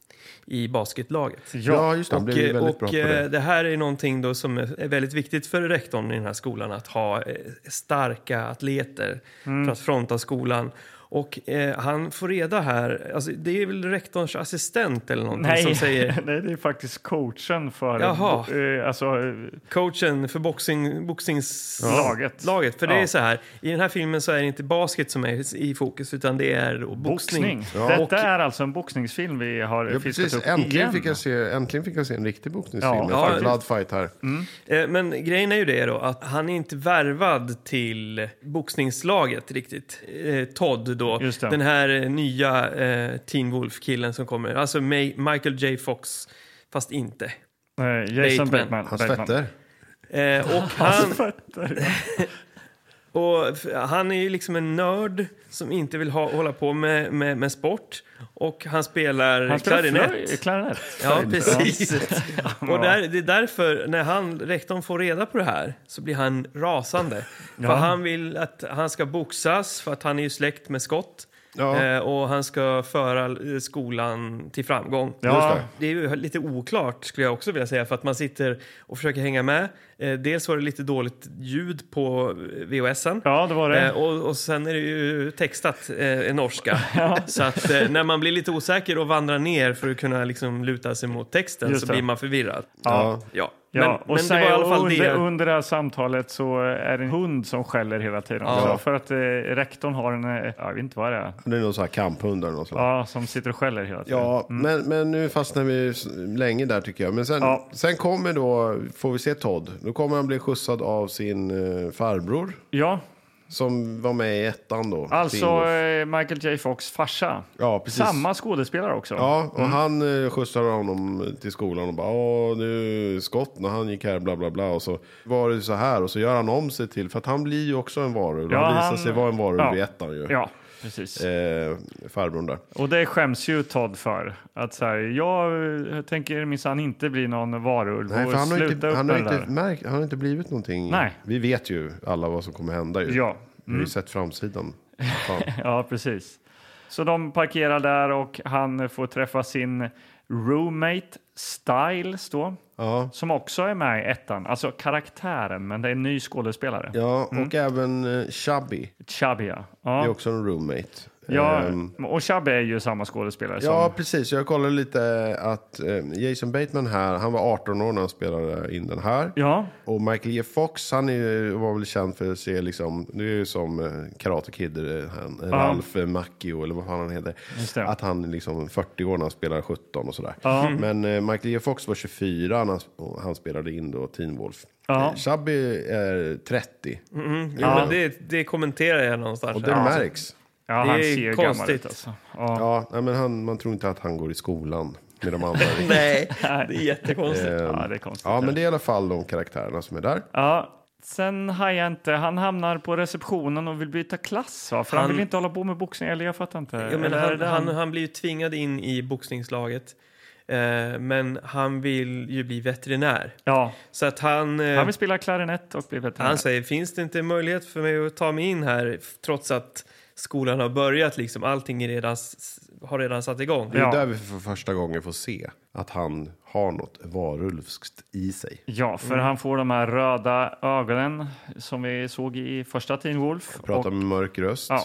A: i basketlaget.
B: Ja, just det. Han
A: och
B: blev ju
A: eh,
B: väldigt
A: och
B: bra på
A: eh,
B: det.
A: det här är någonting då som är är väldigt viktigt för rektorn i den här skolan, att ha eh, starka atleter för att fronta skolan. Och eh, han får reda här, alltså, det är väl rektorns assistent eller någonting
C: Nej.
A: som säger
C: Nej, det är faktiskt coachen för
A: Jaha.
C: eh, alltså, eh,
A: coachen för boxing, boxningslaget.
C: Laget.
A: Laget. För det
C: Ja.
A: är så här, i den här filmen så är det inte basket som är i fokus utan det är då boxning.
C: boxning. Detta är alltså en boxningsfilm vi har
B: Ja,
C: fiskat
B: precis.
C: upp
B: Äntligen
C: igen.
B: fick, jag se, äntligen fick jag se en riktig boxningsfilm.
C: Ja. Mm,
B: jag får
A: Ja,
B: en glad fight här.
A: Eh, Men grejen är ju det då att han är inte värvad till boxningslaget riktigt. Eh, Todd då,
C: Just det.
A: den här eh, nya eh, Teen Wolf-killen som kommer. Alltså Ma- Michael J Fox, fast inte.
C: Eh,
A: Bateman.
C: Jason Bateman.
B: Hans
C: Bateman.
B: fötter.
A: Eh, och han,
C: Fötter, ja.
A: och f- han är ju liksom en nörd som inte vill ha, hålla på med, med, med sport. Och han spelar,
C: Han spelar
A: klarinett.
C: flöj- klarinett.
A: Ja, precis. Och där, det är därför, när han, rektorn får reda på det här så blir han rasande. För han vill att han ska boxas, för att han är ju släkt med Scott.
B: Ja.
A: Eh, och han ska föra eh, skolan till framgång.
C: Ja,
A: Det är ju lite oklart skulle jag också vilja säga för att man sitter och försöker hänga med. Eh, dels var det lite dåligt ljud på eh, VHSen.
C: ja, det var det.
A: Eh, och, och sen är det ju textat eh, i norska. Så att eh, när man blir lite osäker och vandrar ner för att kunna liksom luta sig mot texten
C: Just
A: så
C: det.
A: blir man förvirrad.
B: Ja.
A: Ja,
C: Ja,
A: men,
C: och
A: men det
C: sen,
A: var i alla fall
C: under,
A: det.
C: under det här samtalet så är det en hund som skäller hela tiden.
A: Ja.
C: Så för att eh, rektorn har en, eh, jag vet inte vad det är,
B: Det är någon sån här kamphund eller något sånt.
C: ja, som sitter och skäller hela tiden.
B: Ja, men, men nu fastnar vi s- länge där tycker jag. Men sen,
C: Ja.
B: sen kommer då, får vi se Todd. Då kommer han bli skjutsad av sin eh, farbror.
C: Ja,
B: Som var med i ettan då.
C: alltså
B: Bingo.
C: eh, Michael J Fox farsa.
B: Ja, precis.
C: Samma skådespelare också.
B: Ja,
C: Mm.
B: och han eh, skjutsade honom till skolan och bara Åh, nu skott när han gick här, bla bla bla. Och så var det så här och så gör han om sig till, för att han blir ju också en varulv.
C: Ja,
B: han visar
C: han-
B: sig vara en varulv
C: Ja.
B: i ettan ju.
C: Ja, precis.
B: Eh, farbrorn där.
C: Och det skäms ju Todd för. Att så här, jag eh, tänker minsann inte bli någon varulv.
B: Nej,
C: och
B: för han har, inte,
C: sluta upp
B: han, har
C: med det
B: inte
C: där.
B: märkt, han har inte blivit någonting.
C: Nej.
B: Vi vet ju alla vad som kommer hända ju.
C: Ja. Mm.
B: Vi har ju sett framsidan. Fan.
C: Ja, precis. Så de parkerar där och han får träffa sin roommate Styles då,
B: Ja.
C: som också är med i ettan. Alltså karaktären, men det är en ny skådespelare.
B: Ja, och även eh, Chubby
C: Chubby, ja.
B: är
C: Mm. ja.
B: också en roommate.
C: ja
B: Ehm,
C: och Chubby är ju samma skådespelare
B: ja,
C: som...
B: precis. Jag kollade lite att eh, Jason Bateman här, han var 18 år när han spelade in den här.
C: Ja,
B: Och Michael J. Fox, han är, ju- var väl känd för att se liksom, det är ju som eh, Karate Kid, eh, han, Ralph Macchio eller vad fan han heter.
C: Just det.
B: Att han är liksom 40 år när han spelar 17 och sådär.
C: Ja.
B: Men eh, Michael J. Fox var 24 när han, och han spelade in då Teen Wolf.
C: Ja. Mm-hmm.
B: Eh, Chubby är 30
A: Jo, men det, det kommenterar jag någonstans.
B: och det
A: här.
B: märks.
C: ja
A: Det
C: han
A: är
C: ser ju gammal
A: konstigt.
C: ut alltså. Ja.
B: Ja, nej, men han, man tror inte att han går i skolan med de andra.
A: Nej, det är jättekonstigt.
C: ja, det är konstigt.
B: Ehm. ja, men det är i alla fall de karaktärerna som är där.
C: Ja. Sen hajar jag inte. Han hamnar på receptionen och vill byta klass. Va? För han,
A: Han-
C: vill inte hålla på med boxning. Eller jag fattar inte.
A: Ja, men
C: Eller är
A: han,
C: det
A: han, han blir ju tvingad in i boxningslaget. Eh, men han vill ju bli veterinär.
C: Ja,
A: Så att han... eh,
C: han vill spela klarinett och bli veterinär.
A: Han säger, finns det inte möjlighet för mig att ta mig in här f- trots att skolan har börjat liksom, allting är redan, s- s- har redan satt igång?
B: Det är
C: Ja.
B: där vi för första gången får se att han har något varulvskt i sig.
C: Ja, för
B: Mm.
C: han får de här röda ögonen som vi såg i första Teen Wolf.
B: Pratar
C: Och-
B: med mörk röst.
C: Ja.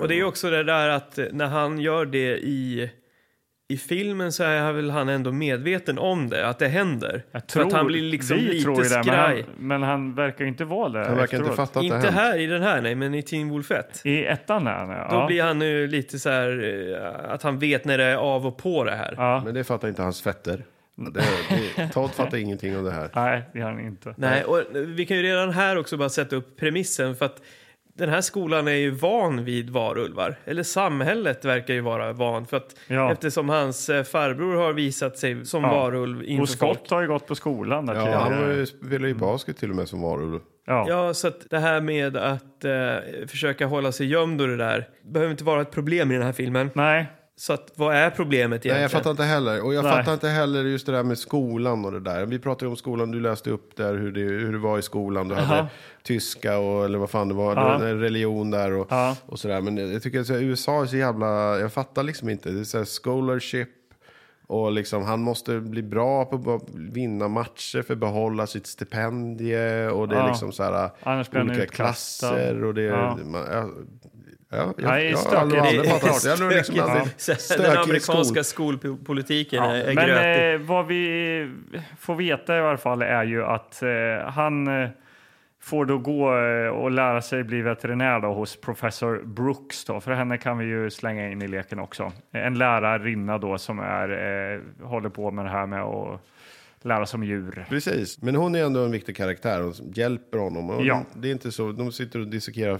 A: Och det är ju också det där att eh, när han gör det i, i filmen så är väl han ändå medveten om det, att det händer.
C: Jag
A: För att han blir liksom lite skraj.
C: men han, men han verkar ju inte vara det
B: Han verkar inte
C: efteråt.
B: fatta att det
A: Inte
B: hänt.
A: här i den här, nej, men i Teen Wolf 1.
C: I ettan är han ja.
A: Då blir han ju lite så här eh, att han vet när det är av och på det här.
C: ja.
B: Men det fattar inte hans fetter.
C: Mm.
B: Det, det, Todd fattar ingenting av det här.
C: Nej, det är han inte.
A: Nej, och vi kan ju redan här också bara sätta upp premissen för att den här skolan är ju van vid varulvar. Eller samhället verkar ju vara van för att
C: Ja.
A: eftersom hans eh, farbror har visat sig som
C: Ja.
A: varulv inför
C: Och
A: folk.
C: Scott har ju gått på skolan där
B: Ja, han var ju, spelade ju basket till och med som varulv.
C: ja.
A: Ja, så att det här med att eh, försöka hålla sig gömd och det där behöver inte vara ett problem i den här filmen.
C: Nej,
A: Så att vad är problemet egentligen?
B: Nej, jag fattar inte heller. Och jag
C: Nej.
B: fattar inte heller just det där med skolan och det där. Vi pratade ju om skolan, du läste upp där hur det, hur det var i skolan. Du hade
C: Aha.
B: tyska och eller vad fan det var,
C: Ja.
B: det var en religion där och,
C: Ja.
B: och sådär. Men jag tycker att så här, USA är så jävla, jag fattar liksom inte. Det är så här scholarship. Och liksom, han måste bli bra på att vinna matcher för att behålla sitt stipendie. Och det är
C: Ja.
B: liksom så här,
C: Annars blir han
B: olika
C: utkastad.
B: klasser. Och det är,
C: Ja.
B: man, jag, Ja, jag,
C: Nej,
B: jag har
C: stökigt.
B: aldrig, aldrig
C: Det är
B: pratat. Jag har nog liksom
A: stökigt.
B: aldrig
A: Så här, Den
B: stökig
A: amerikanska
B: skol.
A: skolpolitiken
C: Ja,
A: är, är grötig.
C: men eh, vad vi får veta i alla fall är ju att eh, han eh, får då gå eh, och lära sig bli veterinär då hos professor Brooks. Då, för henne kan vi ju slänga in i leken också. En lärarinna då som är, eh, håller på med det här med att lära sig om djur.
B: Precis, men hon är ändå en viktig karaktär. Hon hjälper honom. Och
C: Ja.
B: Det är inte så, de sitter och dissekerar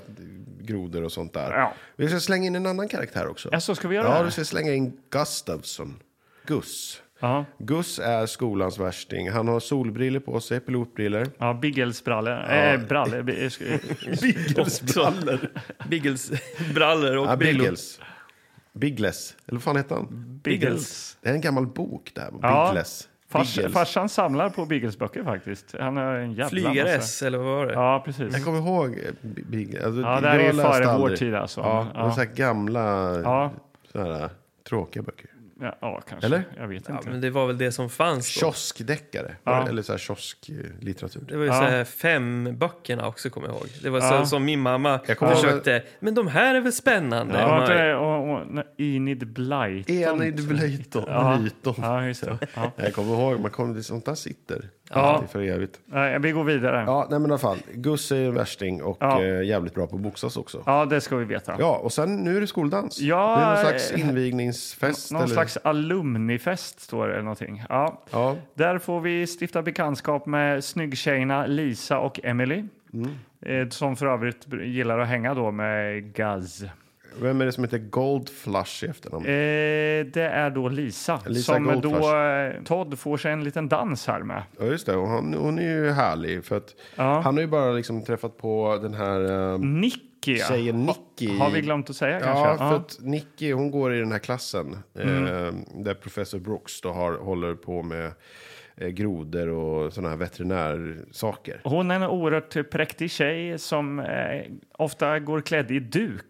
B: grodor och sånt där.
C: Ja.
B: Vi ska slänga in en annan karaktär också.
C: Ja, så ska vi göra
B: Ja,
C: det?
B: du ska slänga in Gustavsson. Gus.
C: Ja,
B: Gus är skolans värsting. Han har solbriller på sig, pilotbriller.
C: ja biggelsbrallor. Eh, brallor. bi- eh, sk-
A: Biggelsbrallor. Biggelsbrallor och
B: Ja,
A: brillor.
B: Ah, Biggles. Biggles. Eller vad fan heter han?
C: Biggles.
B: Det är en gammal bok där.
C: Ja.
B: Biggles.
C: Fars,
B: Biggles.
C: farsan samlar på biggelsböcker faktiskt. Han har en jävla massa.
A: Flygares, eller vad var det?
C: Ja, precis.
B: Jag kommer ihåg eh, Bi- Biggles. Alltså,
C: Mm. Ja, det här är
B: jag
C: ju
B: läste
C: före vår
B: aldrig.
C: tid alltså.
B: Ja,
C: Ja.
B: ja. Så här gamla,
C: Ja.
B: så här, eh, tråkiga böcker.
C: Ja, ja, kanske.
B: Eller?
C: Jag vet
A: Ja,
C: inte.
A: men det var väl det som fanns då.
B: Kioskdeckare.
C: Ja.
B: Eller så här kiosklitteratur.
A: Det var ju
C: Ja.
A: så här fem böckerna också, kommer jag ihåg. Det var
C: Ja.
A: så, som min mamma
B: Jag kommer ihåg-
A: försökte. Men de här är väl spännande?
C: Ja,
A: Man-
C: vänta, och, och, nej, Enid Blyton.
B: Enid Blyton.
C: Ja.
B: Blyton.
C: Ja, just det. Ja.
B: eh, Jag kommer ihåg, man kommer till sånt där sitter.
C: Ja.
B: Alltid För evigt.
C: Nej, vi går vidare. Ja.
B: Ja, nej men i alla fall. Gus är ju en värsting och
C: Ja.
B: eh, jävligt bra på att boxas också. Ja.
C: det ska vi veta.
B: och sen nu är det skoldans.
C: Ja,
B: det är någon slags
C: eh,
B: invigningsfest.
C: Någon
B: eller?
C: slags alumnifest står det eller någonting. Ja.
B: Ja.
C: Där får vi stifta bekantskap med snyggtjejerna Lisa och Emily.
B: Mm.
C: Eh, Som för övrigt gillar att hänga då med Gaz. Eh,
B: Vem är det som heter Gold Flush i efternamn?
C: det är då Lisa,
B: Lisa
C: som då
B: Goldfuss.
C: eh, Todd får sig en liten dans här med.
B: Ja, just det. Och hon, hon är ju härlig. För att
C: Ja.
B: Han har ju bara liksom träffat på den här eh,
C: Nicky, ja.
B: tjejen Nicky.
C: har vi glömt att säga kanske?
B: Ja, för att Nicky hon går i den här klassen
C: Mm.
B: eh, där professor Brooks då har, håller på med eh, grodor och sådana här veterinärsaker.
C: Hon är en oerhört präktig tjej som eh, ofta går klädd i duk.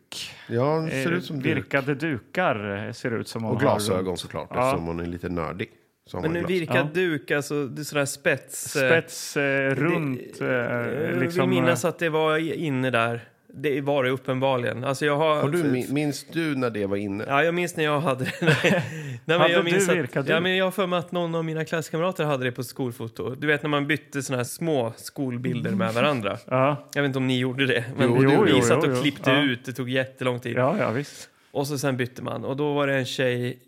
B: Ja, hon ser
C: Eh,
B: ut som du.
C: Virkade dukar eh, ser det ut som hon
B: Och
C: har.
B: glasögon
C: runt.
B: såklart,
C: Ja.
B: eftersom hon är lite nördig. Så har
A: Men
B: man
A: nu
B: glas.
A: virkad duk, alltså det är sådär spets... eh,
C: Spets eh, runt.
A: det-
C: eh,
A: jag
C: liksom,
A: vill minnas att det var inne där. Det var det uppenbarligen. Alltså jag har...
B: har du, min- minns du när det var inne?
A: Ja, jag minns när jag hade det. Nej, men
C: Hade
A: jag
C: du
A: minns
C: virkat
A: att,
C: du?
A: ja, men Jag har för mig att någon av mina klasskamrater hade det på skolfoto. Du vet när man bytte såna här små skolbilder med varandra.
C: ja,
A: Jag vet inte om ni gjorde det. Men
C: Jo, jo, jo,
A: vi satt
C: jo,
A: och
C: jo.
A: klippte
C: Ja.
A: ut, det tog jättelång tid.
C: ja, ja, visst.
A: Och så sen bytte man. Och då var det en tjej... eh,
C: Hade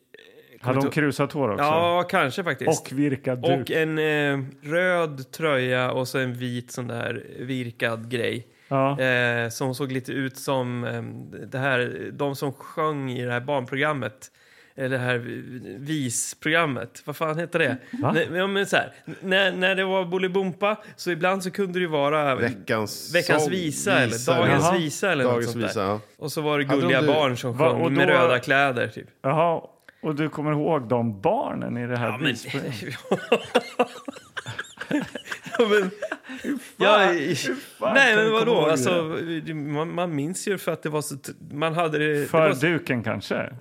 C: hon
A: kommer inte-
C: krusat hår också?
A: Ja, kanske faktiskt.
C: Och virkad duk.
A: Och en eh, röd tröja och så en vit sån där virkad grej.
C: ja.
A: Eh, som såg lite ut som eh, det här, de som sjöng i det här barnprogrammet. Eller det här vi- visprogrammet. Vad fan heter det? Nej, men, ja, men så här, n- när, när det var Bolibompa så ibland så kunde det ju vara
B: Veckans,
A: veckans
B: sång-
A: visa eller
C: Jaha.
A: dagens visa eller något
B: Dagens
A: sånt
B: visa,
A: där.
B: ja.
A: Och så var det
B: Hade de
A: gulliga
B: det?
A: barn som
C: Va,
A: sjöng
C: och
A: med
C: då-
A: röda kläder typ.
C: Jaha. Och du kommer ihåg de barnen i det här visprogrammet?
A: ja, men, ja, nej,
C: kan du
A: men vadå?
C: komma ihåg
A: Alltså, man, man minns ju för att det var så... t- Man hade det... det
C: För
A: var, så-
C: duken kanske?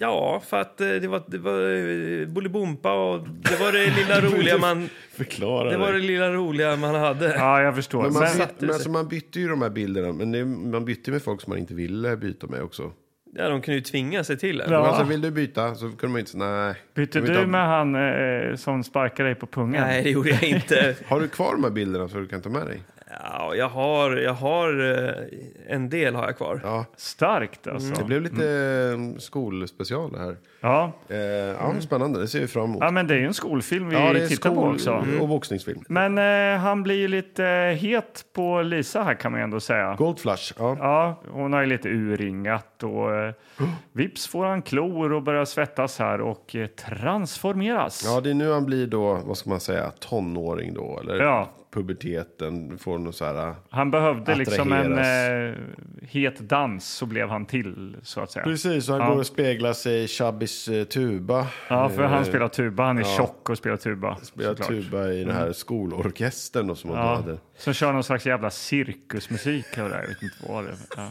A: ja, för att eh, det var, det var eh, Bolibompa och det var det lilla roliga man...
B: Förklara
A: Det var det lilla roliga man hade.
C: Ja, jag förstår.
B: Men man,
C: Men,
B: bytte, men alltså man bytte ju de här bilderna, men det, man bytte ju med folk som man inte ville byta med också.
A: Ja, de kunde ju tvinga sig till det.
C: Ja.
B: Men alltså, vill du byta så kunde man ju inte säga nej.
C: bytte
B: Jag vill inte
C: du
B: ha-
C: med han eh, som sparkade dig på pungen?
A: Nej, det gjorde jag inte.
B: Har du kvar de här bilderna så du kan ta med dig?
A: Ja, jag har, jag har... eh, En del har jag kvar.
B: Ja,
C: Starkt alltså.
B: det blev lite mm. skolspecial det här.
C: Ja.
B: Eh, ja, Spännande, det ser vi fram emot.
C: ja, men det är ju en skolfilm vi
B: ja, det är Mm.
C: tittar på också.
B: och boxningsfilm.
C: Men eh, han blir ju lite eh, het på Lisa här kan man ju ändå säga.
B: Gold Flash, ja.
C: Ja, hon har ju lite urringat och eh, vips får han klor och börjar svettas här och eh, transformeras.
B: Ja, det är nu han blir då, vad ska man säga, tonåring då, eller
C: Ja.
B: puberteten, får någon så här...
C: Han behövde liksom en
B: Attraheras.
C: eh, het dans så blev han till så att säga.
B: Precis, och han går och speglar sig i Chubbys eh, tuba.
C: Ja, för han spelar tuba. Han är tjock och spelar tuba.
B: Eh, Spelar
C: såklart.
B: tuba i den
A: Mm.
B: här skolorkestern då, som han då
C: Ja,
B: hade.
C: som kör någon slags jävla cirkusmusik. Och det där. Jag vet inte vad det är. Ja.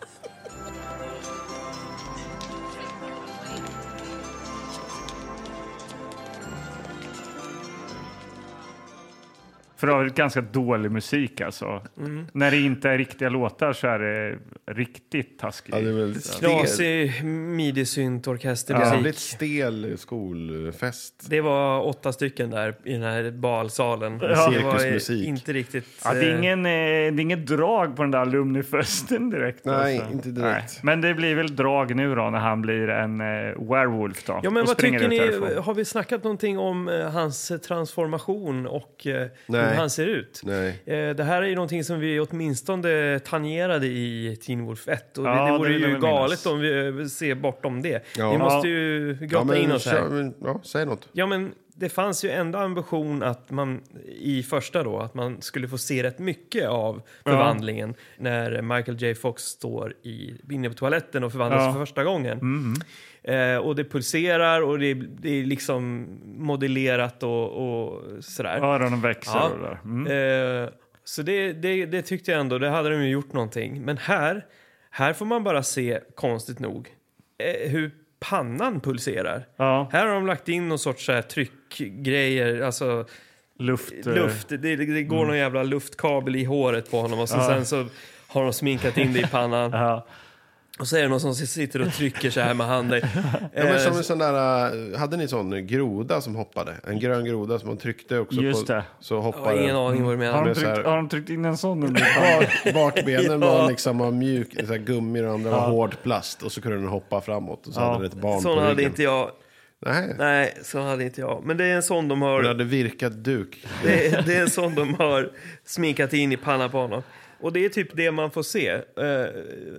C: För övrigt ganska dålig musik alltså.
A: Mm.
C: När det inte är riktiga låtar så är det riktigt taskigt.
B: Ja, det är väl stel,
A: Knasig midi-syntorkestermusik.
B: jävligt stel skolfest.
A: Det var åtta stycken där i den här balsalen. Det var eh,
B: Cirkusmusik.
A: inte riktigt...
C: Ja, det, är
A: eh,
C: ingen, eh, det är inget drag på den där alumnifesten direkt.
B: Nej,
C: alltså.
B: inte direkt.
C: Men det blir väl drag nu då när han blir en eh, werewolf då.
A: Ja, men
C: och
A: vad
C: springer
A: tycker ni?
C: ut därifrån.
A: Har vi snackat någonting om eh, hans transformation och eh, hur
B: Nej.
A: han ser ut?
B: Nej.
A: Eh, det här är ju någonting som vi åtminstone tangerade i Teen Wolf 1 och
C: Ja,
A: det
C: det
A: vore
C: vill jag
A: ju
C: väl
A: galet
C: minnas.
A: om vi eh, ser bortom det.
B: Ja.
A: Vi måste ju grotta
B: Ja, men,
A: in oss här.
B: kör- men, ja, säg något.
A: Ja, men det fanns ju ändå ambition att man i första då att man skulle få se rätt mycket av förvandlingen när Michael J Fox står i, inne på toaletten och förvandlas
C: Ja.
A: för första gången. Eh, och det pulserar och det, det är liksom modellerat och, och sådär.
C: Öronen växer
A: Ja.
C: och det där. Mm.
A: Eh, så det, det, det tyckte jag ändå, det hade de ju gjort någonting. Men här, här får man bara se, konstigt nog, eh, hur pannan pulserar.
C: Ja.
A: Här har de lagt in någon sorts så här, tryckgrejer, alltså
C: Luft. eh,
A: luft. Det, det, det går någon jävla luftkabel i håret på honom och så, sen så har de sminkat in det i pannan.
C: Ja.
A: Och så är det någon som sitter och trycker så här med handen.
B: Ja, men
A: Eh,
B: som en sån där, eh, hade ni sån groda som hoppade? En grön groda som man tryckte också
C: Just
B: på.
C: det.
B: Så
A: jag har
B: hoppade
A: ingen
B: den.
A: aning vad du menar.
C: Mm. Har, de
B: Det är så här-
C: tryckt, har de tryckt in en sån under
B: Bak, bakbenen var liksom av mjuk, så här gummi och andra var hård plast. Och så kunde den hoppa framåt och så hade den ett barn
A: Sån
B: på
A: hade
B: ryggen.
A: inte jag.
B: Nej.
A: Nej, sån hade inte jag. Men det är en sån de
B: Den
A: har
B: hade virkad duk.
A: Det, är- det är en sån de har sminkat in i pannan på honom. Och det är typ det man får se, eh,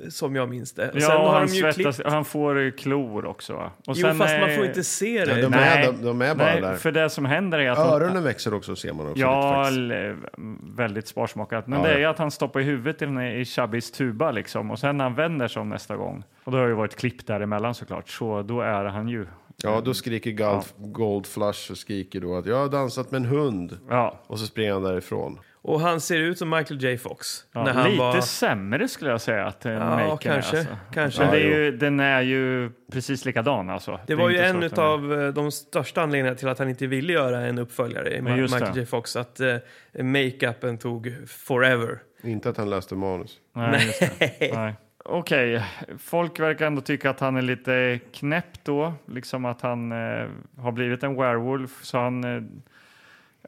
A: som jag minns det. Och
C: Ja, och han,
A: klippt-
C: svettas, han får eh, klor också. va? Och
A: Jo, fast man
C: eh,
A: får inte se
B: Ja,
A: det.
B: de-
C: Nej,
B: är- de är bara
C: nej,
B: där.
C: För det som händer är att de-
B: Öronen växer också ser man också. lite
C: Ja,
B: faktiskt.
C: l- mm, väldigt sparsmakat. Men
B: Ja,
C: det är
B: ja.
C: ju att han stoppar i huvudet i, den här, i Chubbys tuba liksom och sen när han vänder sig om nästa gång. Och då har ju varit klipp däremellan såklart, så då är han ju.
B: ja,
C: Ehm,
B: då skriker Gold, Gold Flush och skriker då att jag har dansat med en hund.
C: Ja,
B: Och så springer han därifrån.
A: Och han ser ut som Michael J Fox.
C: ja
A: när han
C: lite
A: var...
C: sämre skulle jag säga att eh, maken
A: Ja, kanske.
C: är. Alltså.
A: kanske.
C: Men det
A: det,
C: är ju, den är ju precis likadan alltså. Det, är
A: var ju
C: inte så att
A: en
C: den är-
A: av de största anledningarna till att han inte ville göra en uppföljare i Ma-
C: Men just
A: Michael
C: det.
A: J Fox. Att eh, makeupen tog forever.
B: Inte att han läste manus.
C: Nej, just det. Nej. Okej, folk verkar ändå tycka att han är lite knäpp då, liksom att han eh, har blivit en werewolf. Så han, eh,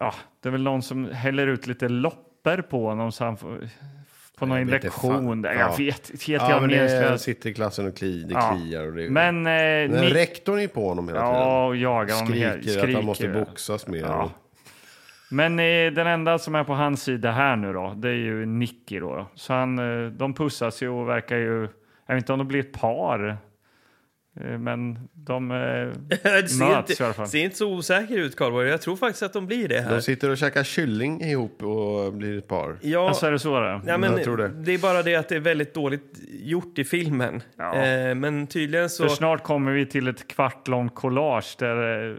C: ja, det är väl någon som häller ut lite lopper på honom så han får, på någon
B: vet inte
C: injektion.
B: fan.
C: där.
B: Ja.
C: Jag vet, vet
B: Ja,
C: jag
B: men det är,
C: meningslöst.
B: sitter i klassen och kli, det
C: Ja.
B: kliar. Och det,
C: Men, eh,
B: Men
C: ni,
B: rektorn är ju på honom hela tiden.
C: ja, och jagar honom
B: skriker,
C: hela-
B: att han måste
C: skriker.
B: boxas mer.
C: Ja.
B: och-
C: Men eh, den enda som är på hans sida här nu då, det är ju Nicky då. Så han, eh, de pussas ju och verkar ju, jag vet inte om de blir ett par, eh, men de... Eh,
A: Det ser,
C: Möts i alla
A: inte,
C: fall.
A: ser inte så osäker ut, Karlborg. Jag tror faktiskt att de blir det här.
B: De sitter och käkar kylling ihop och blir ett par.
A: Ja,
C: alltså är det så det?
A: Ja, men
B: Jag tror
A: det.
B: det.
A: är bara det att det är väldigt dåligt gjort i filmen.
C: Ja.
A: Eh, men tydligen så...
C: För snart kommer vi till ett kvartlångt collage. Där, eh,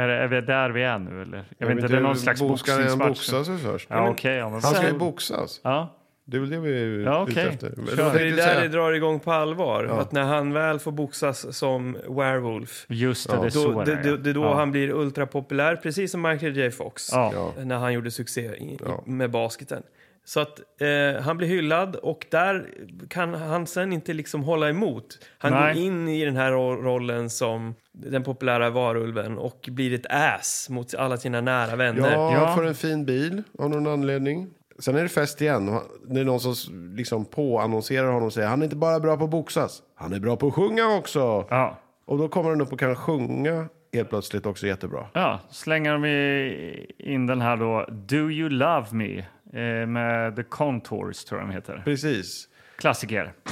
C: är, det- är vi där vi är nu eller? Jag vet inte, det är någon slags
B: Ska han
C: boxningsmatch.
B: boxas först?
C: Ja, okej. ja, men
B: Han ska ju
C: så-
B: boxas.
C: ja.
B: Det är väl det vi är
C: Ja,
B: ute
C: okej.
B: efter. Men
C: Kör.
B: jag
A: för det är
B: tänkte säga-
A: där det drar igång på allvar. Att när han väl får boxas som werewolf,
C: Just det, det är
A: då,
C: så
A: det,
C: det,
A: det, det är då
C: ja.
A: han blir ultrapopulär, precis som Michael J Fox.
C: Ja.
B: Ja.
A: När han gjorde succé i,
B: Ja.
A: i, med basketen. Så att eh, han blir hyllad och där kan han sen inte liksom hålla emot. Han
C: Nej.
A: går in i den här ro- rollen som den populära varulven och blir ett ass mot alla sina nära vänner.
B: Ja,
C: Ja.
B: han får en fin bil av någon anledning. Sen är det fest igen. och han- Det är någon som s- liksom påannonserar honom och säger han är inte bara bra på att boxas, han är bra på att sjunga också.
C: Ja.
B: Och då kommer han upp och kan sjunga helt plötsligt också jättebra.
C: Ja, slänger de i- in den här då, Do You Love Me eh, med The Contours tror jag de heter.
B: Precis.
C: Klassiker.
H: Do you love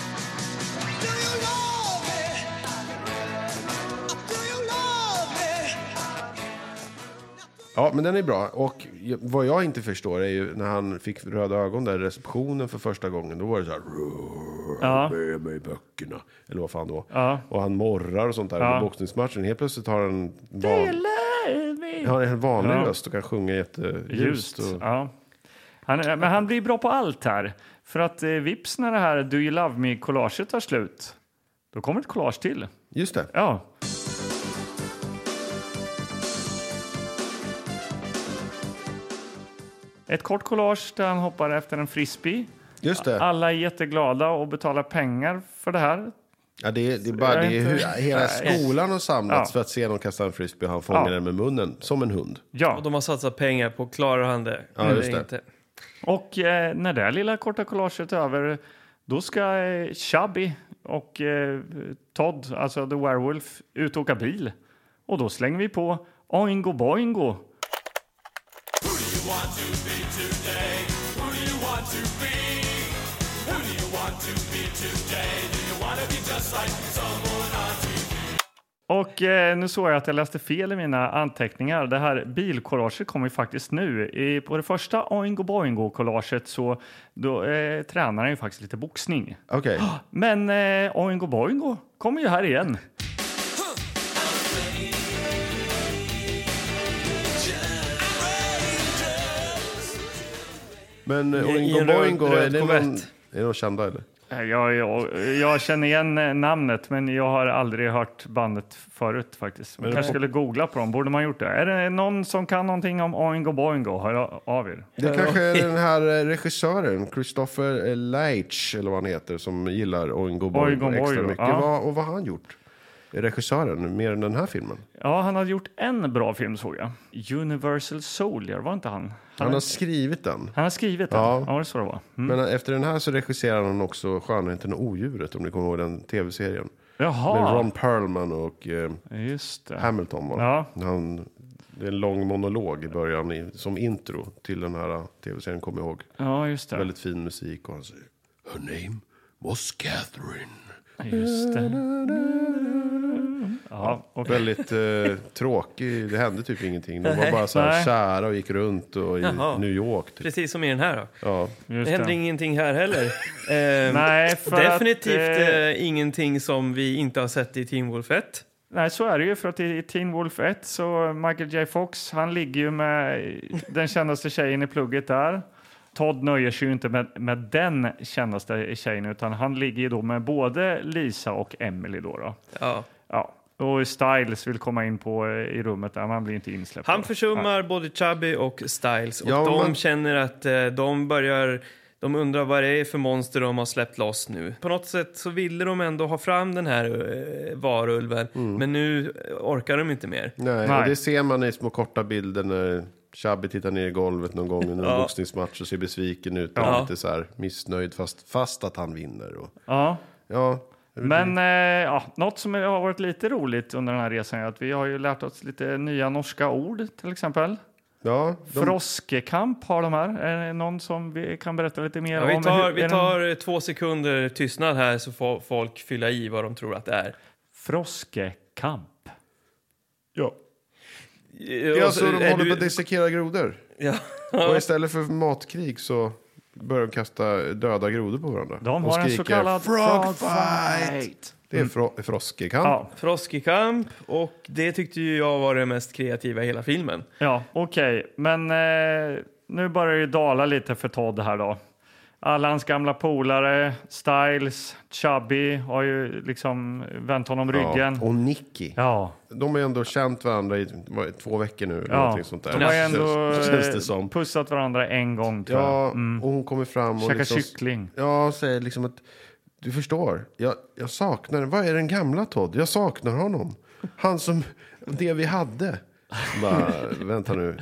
H: me? Do you love me?
B: Ja, men den är bra. Och jag- vad jag inte förstår är ju när han fick röda ögon där i receptionen för första gången. Då var det så här,
C: Ja.
B: med mig böckerna. Eller vad fan då.
C: Ja.
B: Och han morrar och sånt där under boxningsmatchen. Helt plötsligt har han en van...
C: Ja,
B: Han har en vanlig
C: Ja.
B: röst och kan sjunga jätteljust.
C: Ljust.
B: Och...
C: Ja. Han, är- men han blir bra på allt här. För att eh, vips när det här Do You Love Me-collaget tar slut, då kommer ett collage till.
B: Just det.
C: Ja. Eh, Ett kort collage där han hoppar efter en frisbee.
B: Just det.
C: Alla är jätteglada och betalar pengar för det här.
B: Ja, det, det är bara, det är hur, hela skolan har samlats
C: Ja.
B: för att se någon kasta en frisbee och han fångar
C: Ja.
B: den med munnen, som en hund.
C: Ja,
A: Och de har satsat pengar på, klarar han det?
B: Ja,
A: eller
B: just det.
A: Inte?
C: och eh, när det här lilla korta collaget är över då ska eh, Chubby och eh, Todd, alltså The Werewolf, ut och åka bil. Och då slänger vi på Oingo Boingo. Och eh, nu såg jag att jag läste fel i mina anteckningar. Det här bilkollaget kommer ju faktiskt nu. I, på det första Oingo Boingo-kollaget så då, eh, tränar han ju faktiskt lite boxning.
B: Okej.
C: Men eh, Oingo Boingo kommer ju här igen.
B: Men eh,
A: I- i
B: Oingo
A: en röd-
B: Boingo, är
A: röd
B: det någon,
A: Corvette.
B: är det någon kända eller?
C: Eh, Jag, jag, jag känner igen eh, namnet, men jag har aldrig hört bandet förut faktiskt. Man kanske skulle googla på dem. Borde man gjort det? Är det någon som kan någonting om Oingo Boingo? Hör av er.
B: Det kanske är den här eh, regissören, Christopher eh, Leitch, eller vad han heter, som gillar Oingo Boingo
C: Oingo
B: extra
C: Boingo,
B: mycket.
C: ja.
B: Vad, och vad har han gjort? Regissören, mer än den här filmen.
C: Ja, han hade gjort en bra film såg jag. Universal Soldier, var inte han? Han,
B: Han
C: har,
B: har skrivit den.
C: han har skrivit den.
B: Ja.
C: Ja, det är så det var. Mm.
B: Men efter den här så regisserar han också Skönheten och odjuret, om ni kommer ihåg den tv-serien. Med
C: Jaha,
B: Ron Perlman och eh,
C: just det.
B: Hamilton var det.
C: Ja.
B: Han, det är en lång monolog i början i, som intro till den här eh, tv-serien, kommer jag ihåg.
C: Ja, just det.
B: Väldigt fin musik och han säger Her name was Catherine.
C: Just det. Ja, och
B: Väldigt eh, tråkig, det hände typ ingenting. De var bara så här
C: Nej.
B: kära och gick runt och i
A: Jaha.
B: New York. Typ.
A: Precis som i den här då.
B: Ja.
A: Det
C: just
A: händer
C: det.
A: ingenting här heller. Ehm,
C: Nej, för
A: definitivt
C: att, eh,
A: eh, ingenting som vi inte har sett i Team Wolf 1.
C: Nej, så är det ju. För att i Teen Wolf 1 så Michael J Fox, han ligger ju med den kändaste tjejen i plugget där. Todd nöjer sig ju inte med, med den kändaste tjejen utan han ligger ju då med både Lisa och Emily då. då.
A: Ja.
C: Ja. Och Styles vill komma in på eh, i rummet där, man blir inte insläppt.
A: Han
C: då.
A: försummar både Chubby och Styles och
B: Ja,
A: de
B: man-
A: känner att eh, de börjar de undrar vad det är för monster de har släppt loss nu. På något sätt så ville de ändå ha fram den här eh, varulven,
B: Mm.
A: men nu eh, orkar de inte mer.
B: Nej,
C: Nej.
B: Och det ser man i små korta bilder när Chubby tittar ner i golvet någon gång under en
A: Ja.
B: boxningsmatch och ser besviken ut och
A: Ja.
B: lite så här missnöjd fast, fast att han vinner. Och,
C: Ja.
B: ja,
C: Men eh, ja, något som har varit lite roligt under den här resan är att vi har ju lärt oss lite nya norska ord till exempel.
B: ja, de,
C: Froskekamp har de här. Är det någon som vi kan berätta lite mer
A: Ja,
C: om?
A: vi tar,
C: Hur- är
A: vi
C: den-
A: tar eh, två sekunder tystnad här så får folk fylla i vad de tror att det är.
C: Froskekamp.
B: ja. ja så de
A: Eh, Alltså, Är
B: håller
A: du-
B: på att dissekera grodor.
A: Ja.
B: Och istället för matkrig så börjar de kasta döda grodor på varandra.
C: De
B: och
C: har en så
B: skriker,
C: kallad Mm.
B: frog fight. Det är fro- froskekamp.
C: Ja,
A: Froskekamp och det tyckte ju jag var det mest kreativa i hela filmen.
C: ja okej. Men eh, nu börjar det ju dala lite för Todd här då. Alla hans gamla polare, Styles, Chubby har ju liksom vänt honom ryggen.
B: Och Nicky.
C: Ja,
B: De har ju ändå känt varandra i vad, är det, två veckor nu. Eller
C: ja.
B: någonting sånt där.
C: de har ju ändå
B: känns, känns det
C: eh,
B: som.
C: pussat varandra en gång tror jag.
B: Ja, och hon kommer fram och
C: Käkat
B: liksom,
C: Mm. kyckling.
B: Ja, säger liksom att du förstår. Jag, jag saknar, vad är den gamla Todd? Jag saknar honom. Han som, det vi hade. Bara, vänta nu.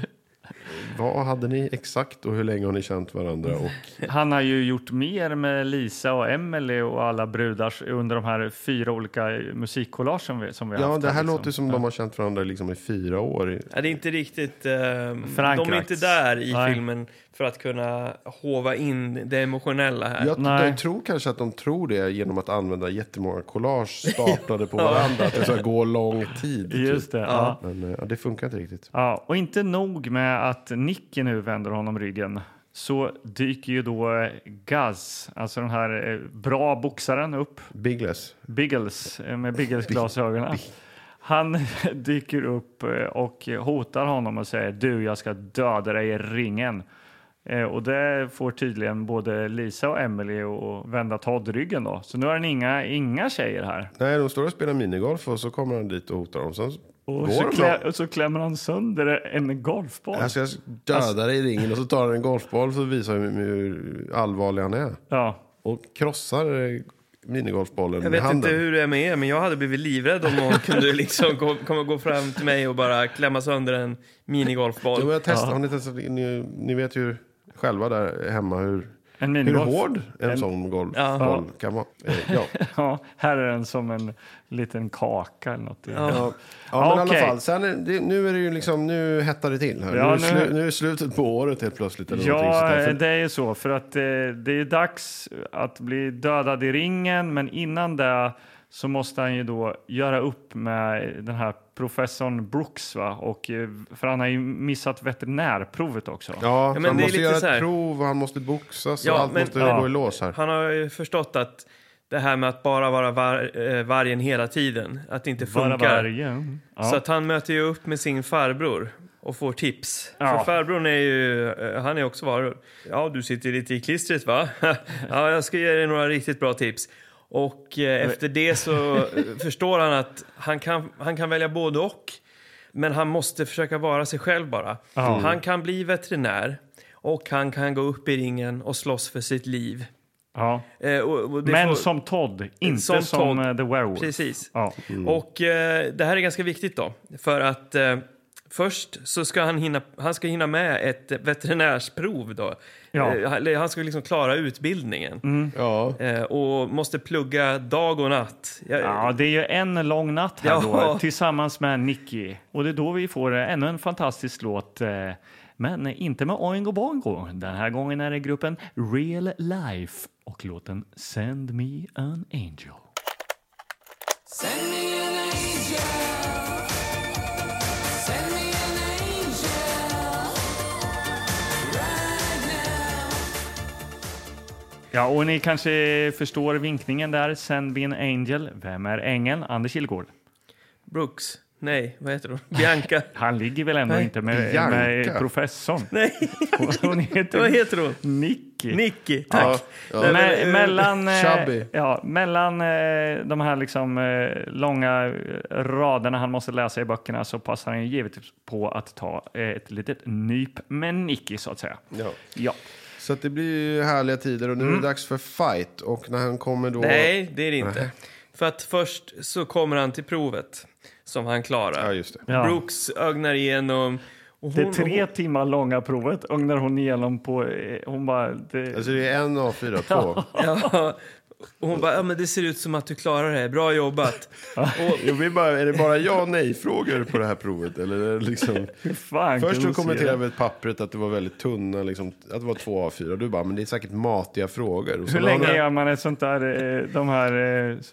B: Vad hade ni exakt och hur länge har ni känt varandra? Och,
C: Han har ju gjort mer med Lisa och Emily och alla brudar under de här fyra olika musikkollagen som vi, som vi har
B: ja,
C: haft.
B: det här
C: liksom.
B: låter som de har känt varandra liksom i fyra år.
A: Ja, det är inte riktigt... ehm,
C: Frankrike.
A: de är inte där i
C: Nej.
A: filmen för att kunna hova in det emotionella här.
B: Jag,
C: Nej.
B: jag tror kanske att de tror det genom att använda jättemånga collage staplade på varandra. Att det ska gå lång tid. typ.
C: Just det. Ja.
B: Men eh, ja, det funkar inte riktigt.
C: Ja, och inte nog med att Nicky nu vänder honom ryggen så dyker ju då eh, Gaz, alltså den här eh, bra boxaren upp,
B: Bigless.
C: Biggles eh, med Biggles-glasögonen. Han dyker upp eh, och hotar honom och säger du, jag ska döda dig i ringen. Eh, och det får tydligen både Lisa och Emily att vända Todd ryggen då. Så nu har han inga, inga tjejer här.
B: Nej, de står och spelar minigolf och så kommer han dit och hotar dem. Sen går
C: Och så,
B: de
C: klä,
B: då. Alltså,
C: och så klämmer han sönder en golfboll.
B: Jag ska döda dig i ringen och så tar han en golfboll för att visa hur, hur allvarlig han är.
C: Ja.
B: Och krossar eh, minigolfbollen
A: Jag
B: med
A: vet
B: handen.
A: inte hur det är med er, men jag hade blivit livrädd om någon kunde liksom gå, komma gå fram till mig och bara klämma sönder en
B: Jo, men
A: minigolfboll.
B: jag testar. Har ni, testat, ni, ni vet ju själva där hemma hur,
C: En
B: hur
C: minigolf.
B: hård en, sån golfboll
A: Ja.
B: kan vara. Eh, ja. Ja,
C: Ja, här är den som en liten kaka eller något. Ja,
B: men i
C: okej.
B: alla fall. Sen är, det, nu är det ju liksom, nu hettar det till här.
C: Ja,
B: nu, är
C: nu-
B: slu, nu är det slutet på året helt plötsligt. Eller någonting sånt
C: Ja,
B: där. För-
C: eh, det är ju så. För att eh, det är ju dags att bli dödad i ringen. Men innan det så måste han ju då göra upp med den här professorn Brooks. Va? Och, eh, för han har ju missat veterinärprovet också.
B: Ja, så
A: men
B: han
A: det är
B: måste
A: lite
B: göra
A: så här-
B: ett prov och han måste boxas
A: Ja,
B: och allt
A: men-
B: måste
C: ja.
B: gå i lås här.
A: Han har ju förstått att det här med att bara vara var, eh, vargen hela tiden, att det inte
C: Bara
A: funkar.
C: vargen. Ja.
A: Så att han möter ju upp med sin farbror och får tips.
C: Ja.
A: För farbrorn är ju, eh, han är också varor. Ja, du sitter lite i klistret va? ja, jag ska ge dig några riktigt bra tips. Och eh, efter det så eh, förstår han att han kan, han kan välja både och. Men han måste försöka vara sig själv bara. Han kan bli veterinär och han kan gå upp i ringen och slåss för sitt liv.
C: ja.
A: Eh, och, och det
C: Men
A: får-
C: som Todd, inte som,
A: Som Todd.
C: eh, The Werewolf.
A: Precis.
C: Ja.
A: Och eh, det här är ganska viktigt då, för att eh, först så ska han hinna, han ska hinna med ett veterinärsprov då.
C: Ja. Mm.
A: Eh, eller han ska liksom klara utbildningen
B: Ja.
A: eh, och måste plugga dag och natt. Jag,
C: Ja, det är ju en lång natt här då,
A: Eh, Ja.
C: tillsammans med Nicky. Och det är då vi får eh, ännu en fantastisk låt. eh, Men inte med Oingo Bongo. Den här gången är det gruppen Real Life och låten Send Me An Angel.
H: Send me an angel. Send me an angel. Right now.
C: Ja, och ni kanske förstår vinkningen där. Send Me An Angel. Vem är ängeln? Anders Kilgård.
A: Brooks. Nej, vad heter hon? Bianca.
C: Han ligger väl ändå
A: Nej,
C: inte med,
B: Bianca.
C: med professorn?
A: Nej,
C: Hon heter,
A: vad heter hon?
C: Nicky.
A: Nicky. Tack.
B: Ja,
A: Nej,
B: ja.
A: men,
C: Me
A: eh,
C: mellan eh,
B: Chubby.
C: ja, mellan eh, de här liksom, eh, långa eh, raderna han måste läsa i böckerna så passar han ju givetvis på att ta eh, ett litet nyp med Nicky så att säga.
B: Ja.
C: Ja,
B: Så att det blir ju härliga tider och nu är det dags för fight. Och när han kommer då...
A: Mm. Nej, det är det inte. För att först så kommer han till provet som han klarar.
B: Ja, just det.
C: Ja.
A: Brooks ögnar igenom. Och
C: det
A: hon-
C: tre timmar långa provet ögnar hon igenom på, eh, hon bara, det,
B: Alltså det är en A4, två.
A: Ja. Och hon bara, ja, men det ser ut som att du klarar det. Bra jobbat.
B: Jag vill bara, är det bara ja och nej-frågor på det här provet? Eller är det liksom...
C: hur fan
B: Först
C: kunde
B: så
C: hon se
B: kommenterade
C: det?
B: vi pappret att det var väldigt tunna, liksom, att det var två A4. Du bara, men det är säkert matiga frågor. Och
C: Hur
B: sen har
C: länge
B: ni-
C: gör man ett sånt där, eh, de här eh,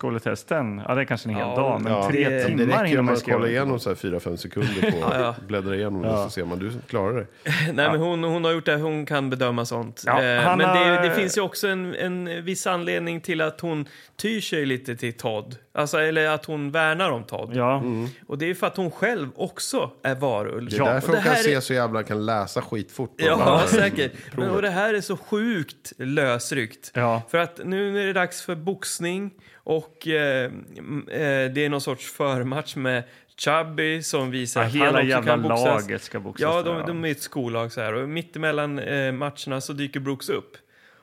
C: högskoletesten? Ja, det är kanske en hel
A: Ja,
C: dag, men
B: Ja,
C: tre
A: det- det
B: Det
C: timmar
B: räcker
C: hinner
B: om
C: man
B: man kollar
C: skriva.
B: igenom så här fyra, fem sekunder på
A: ja.
B: bläddra igenom det så ser man, du klarar det.
A: Nej, men hon, hon har gjort det, hon kan bedöma sånt.
C: Ja,
A: eh,
C: han
A: men
C: har-
A: det, det finns ju också en, en viss anledning till att hon tyr sig lite till Todd. Alltså, eller att hon värnar om Todd.
C: Ja.
A: Och det är ju för att hon själv också är varulv.
B: Det är därför
A: och det
B: hon kan
A: här är-
B: se så jävla, kan läsa skitfort. på de
A: Ja,
B: här
A: säkert. Men,
B: proven.
A: och det här är så sjukt lösryckt.
C: Ja.
A: För att nu är det dags för boxning och eh, m- eh, det är någon sorts förmatch med Chubby som visar
C: Ja,
A: att
C: hela
A: han också
C: jävla
A: kan boxas.
C: laget ska boxas.
A: Ja,
C: där,
A: de, de är ett skollag så här. Och mittemellan eh, matcherna så dyker Brooks upp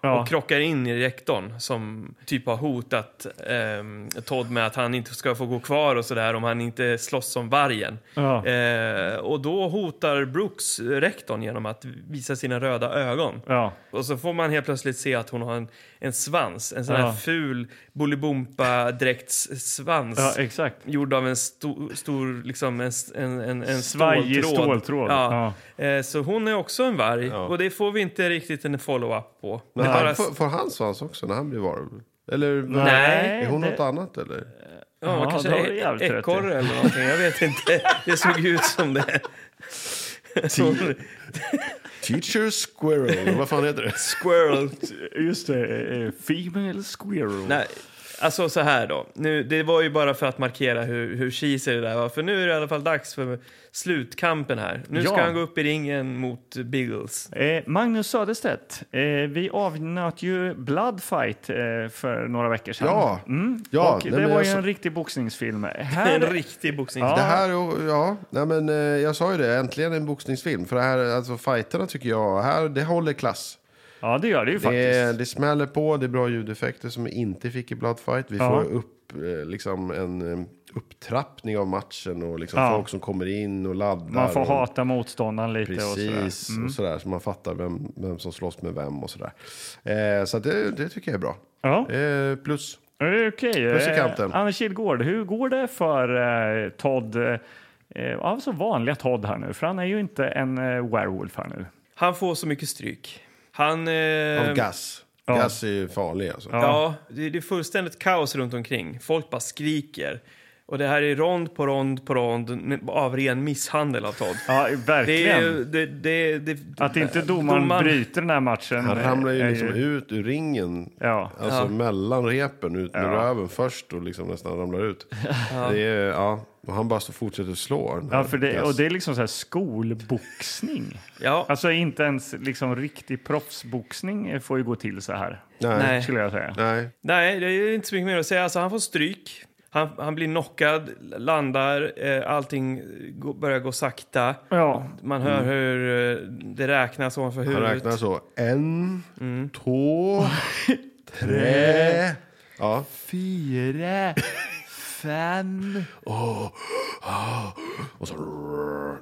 C: Ja.
A: och krockar in i rektorn som typ har hotat ehm, Todd med att han inte ska få gå kvar och sådär om han inte slåss som vargen.
C: Ja.
A: Eh, och då hotar Brooks rektorn genom att visa sina röda ögon.
C: Ja.
A: Och så får man helt plötsligt se att hon har en, en svans, en sån
C: Ja.
A: här ful Bolibompa-dräktssvans.
C: Ja, exakt.
A: Gjord av en sto, stor, liksom en, s- en, en, en
C: Svajig ståltråd,
A: Ja. Eh, Så hon är också en varg
B: Ja.
A: och det får vi inte riktigt en follow-up på.
B: Men
A: Det är bara-
B: han, får, får han svans också när han blir varulv? Eller
A: Nej,
B: är hon
C: det-
B: något annat eller?
A: Ja,
C: Ja,
A: man kanske
C: då har du
A: är
C: jävligt rätt i.
A: ekorre eller någonting. Jag vet inte. Det såg ut som det. Hon-
B: Teacher Squirrel, vad fan heter det?
A: Squirrel.
C: Just det, eh, eh, Female Squirrel.
A: Nej, Alltså så här då. Nu, det var ju bara för att markera hur, hur cheesy det där var. För nu är det i alla fall dags för slutkampen här. Nu ska
C: Ja.
A: han gå upp i ringen mot Biggles.
C: Eh, Magnus Söderstedt, eh, vi avnöt ju Bloodfight eh, för några veckor sedan.
B: Ja,
C: Mm.
B: ja,
C: och
B: nej,
C: det
B: men alltså-
C: var
B: jag
C: ju
B: så-
C: en riktig boxningsfilm.
A: Det är
C: Här,
A: en riktig boxning.
C: Ja.
B: Det här, och- ja, nej men, eh, jag sa ju det, äntligen en boxningsfilm. För det här, alltså fighterna tycker jag, här, det håller klass.
C: ja, det gör det ju faktiskt.
B: Det, det smäller på, det är bra ljudeffekter som vi inte fick i Bloodfight. Vi
C: Ja.
B: får upp, eh, liksom en eh, upptrappning av matchen och liksom
C: Ja.
B: folk som kommer in och laddar.
C: Man får
B: och,
C: hata motståndaren lite och sådär. Mm.
B: Precis, och sådär. Så man fattar vem, vem som slåss med vem och sådär. Eh, så att det, det tycker jag är bra.
C: Ja,
B: Eh, plus.
C: eh, okej.
B: Plus i
C: Eh,
B: kanten.
C: Anders Kilgård, hur går det för eh, Todd? eh, Eh, alltså vanliga Todd här nu, för han är ju inte en eh, werewolf här nu.
A: Han får så mycket stryk. Han... Eh,
C: Ehm,
B: Av gas. Gas är ju farlig alltså.
A: Ja, det, det är fullständigt kaos runt omkring. Folk bara skriker. Och det här är rond på rond på rond med- av ren misshandel av Todd.
C: Ja,
A: Det
C: verkligen.
A: är ju... Det, det, det,
C: Att inte domaren bryter den här matchen.
B: Han ramlar
C: är
B: ju liksom ut ur ringen.
C: Ja.
B: Alltså mellan repen, ut med röven först och liksom nästan ramlar ut. Det är, ja. Och han bara så fortsätter slå. den här
C: Ja, för det,
B: Gas.
C: och det är liksom så här skolboxning.
A: Ja,
C: Alltså inte ens liksom riktig proffsboxning får ju gå till så här,
B: Nej.
A: Nej.
B: Nej.
C: skulle jag säga.
A: nej, det är inte så mycket mer att säga. Alltså, han får stryk. Han, han blir knockad, landar, eh, allting gå- börjar gå sakta.
C: Ja,
A: Man hör hur eh, det räknas ovanför
B: Han
A: huvudet.
B: räknar så. En, två, tre. Ja.
C: Fyra, fem...
B: Ah. Och så...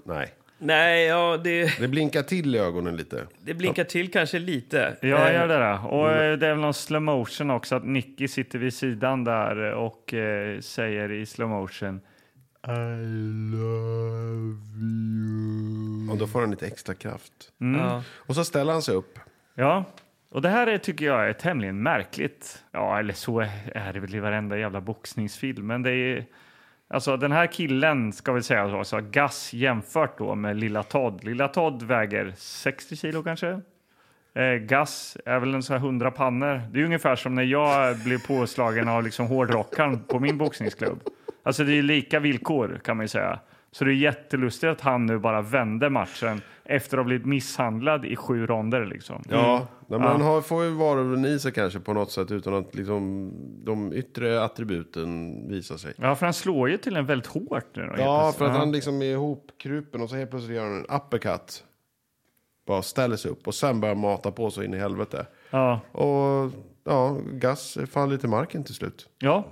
B: Nej.
A: Nej, ja, det,
B: Det blinkar till i ögonen lite.
A: det blinkar till kanske lite.
C: Ja,
A: Eh,
C: gör det. Där. Och
B: Mm.
C: eh, det är väl någon slow motion också, att Nicky sitter vid sidan där och eh, säger i slow motion
B: Och då får han lite extra kraft.
A: ja.
B: Och så ställer han sig upp.
C: Ja, och det här är, tycker jag är tämligen märkligt. Ja, eller så är det väl i varenda jävla boxningsfilm. Men det är ju... Alltså den här killen, ska vi säga så, så Gas jämfört då med lilla Todd. Lilla Todd väger 60 kilo kanske. Eh, Gas är väl en sån här 100 pannor. Det är ungefär som när jag blev påslagen av liksom hårdrockaren på min boxningsklubb. Alltså det är ju lika villkor kan man ju säga. Så det är jättelustigt att han nu bara vände matchen efter att ha blivit misshandlad i sju ronder liksom.
B: Mm. Ja, nej, men han har, får ju varulven i sig kanske på något sätt utan att liksom, de yttre attributen visar sig.
C: Ja, för han slår ju till en väldigt hårt nu. då, helt
B: Ja,
C: plötsligt.
B: för att
C: Ja.
B: han liksom är ihopkrupen och så helt plötsligt gör han en uppercut. Bara ställer sig upp och sen börjar mata på så in i helvete.
C: Ja.
B: Och ja, Gas faller till marken till slut.
C: ja.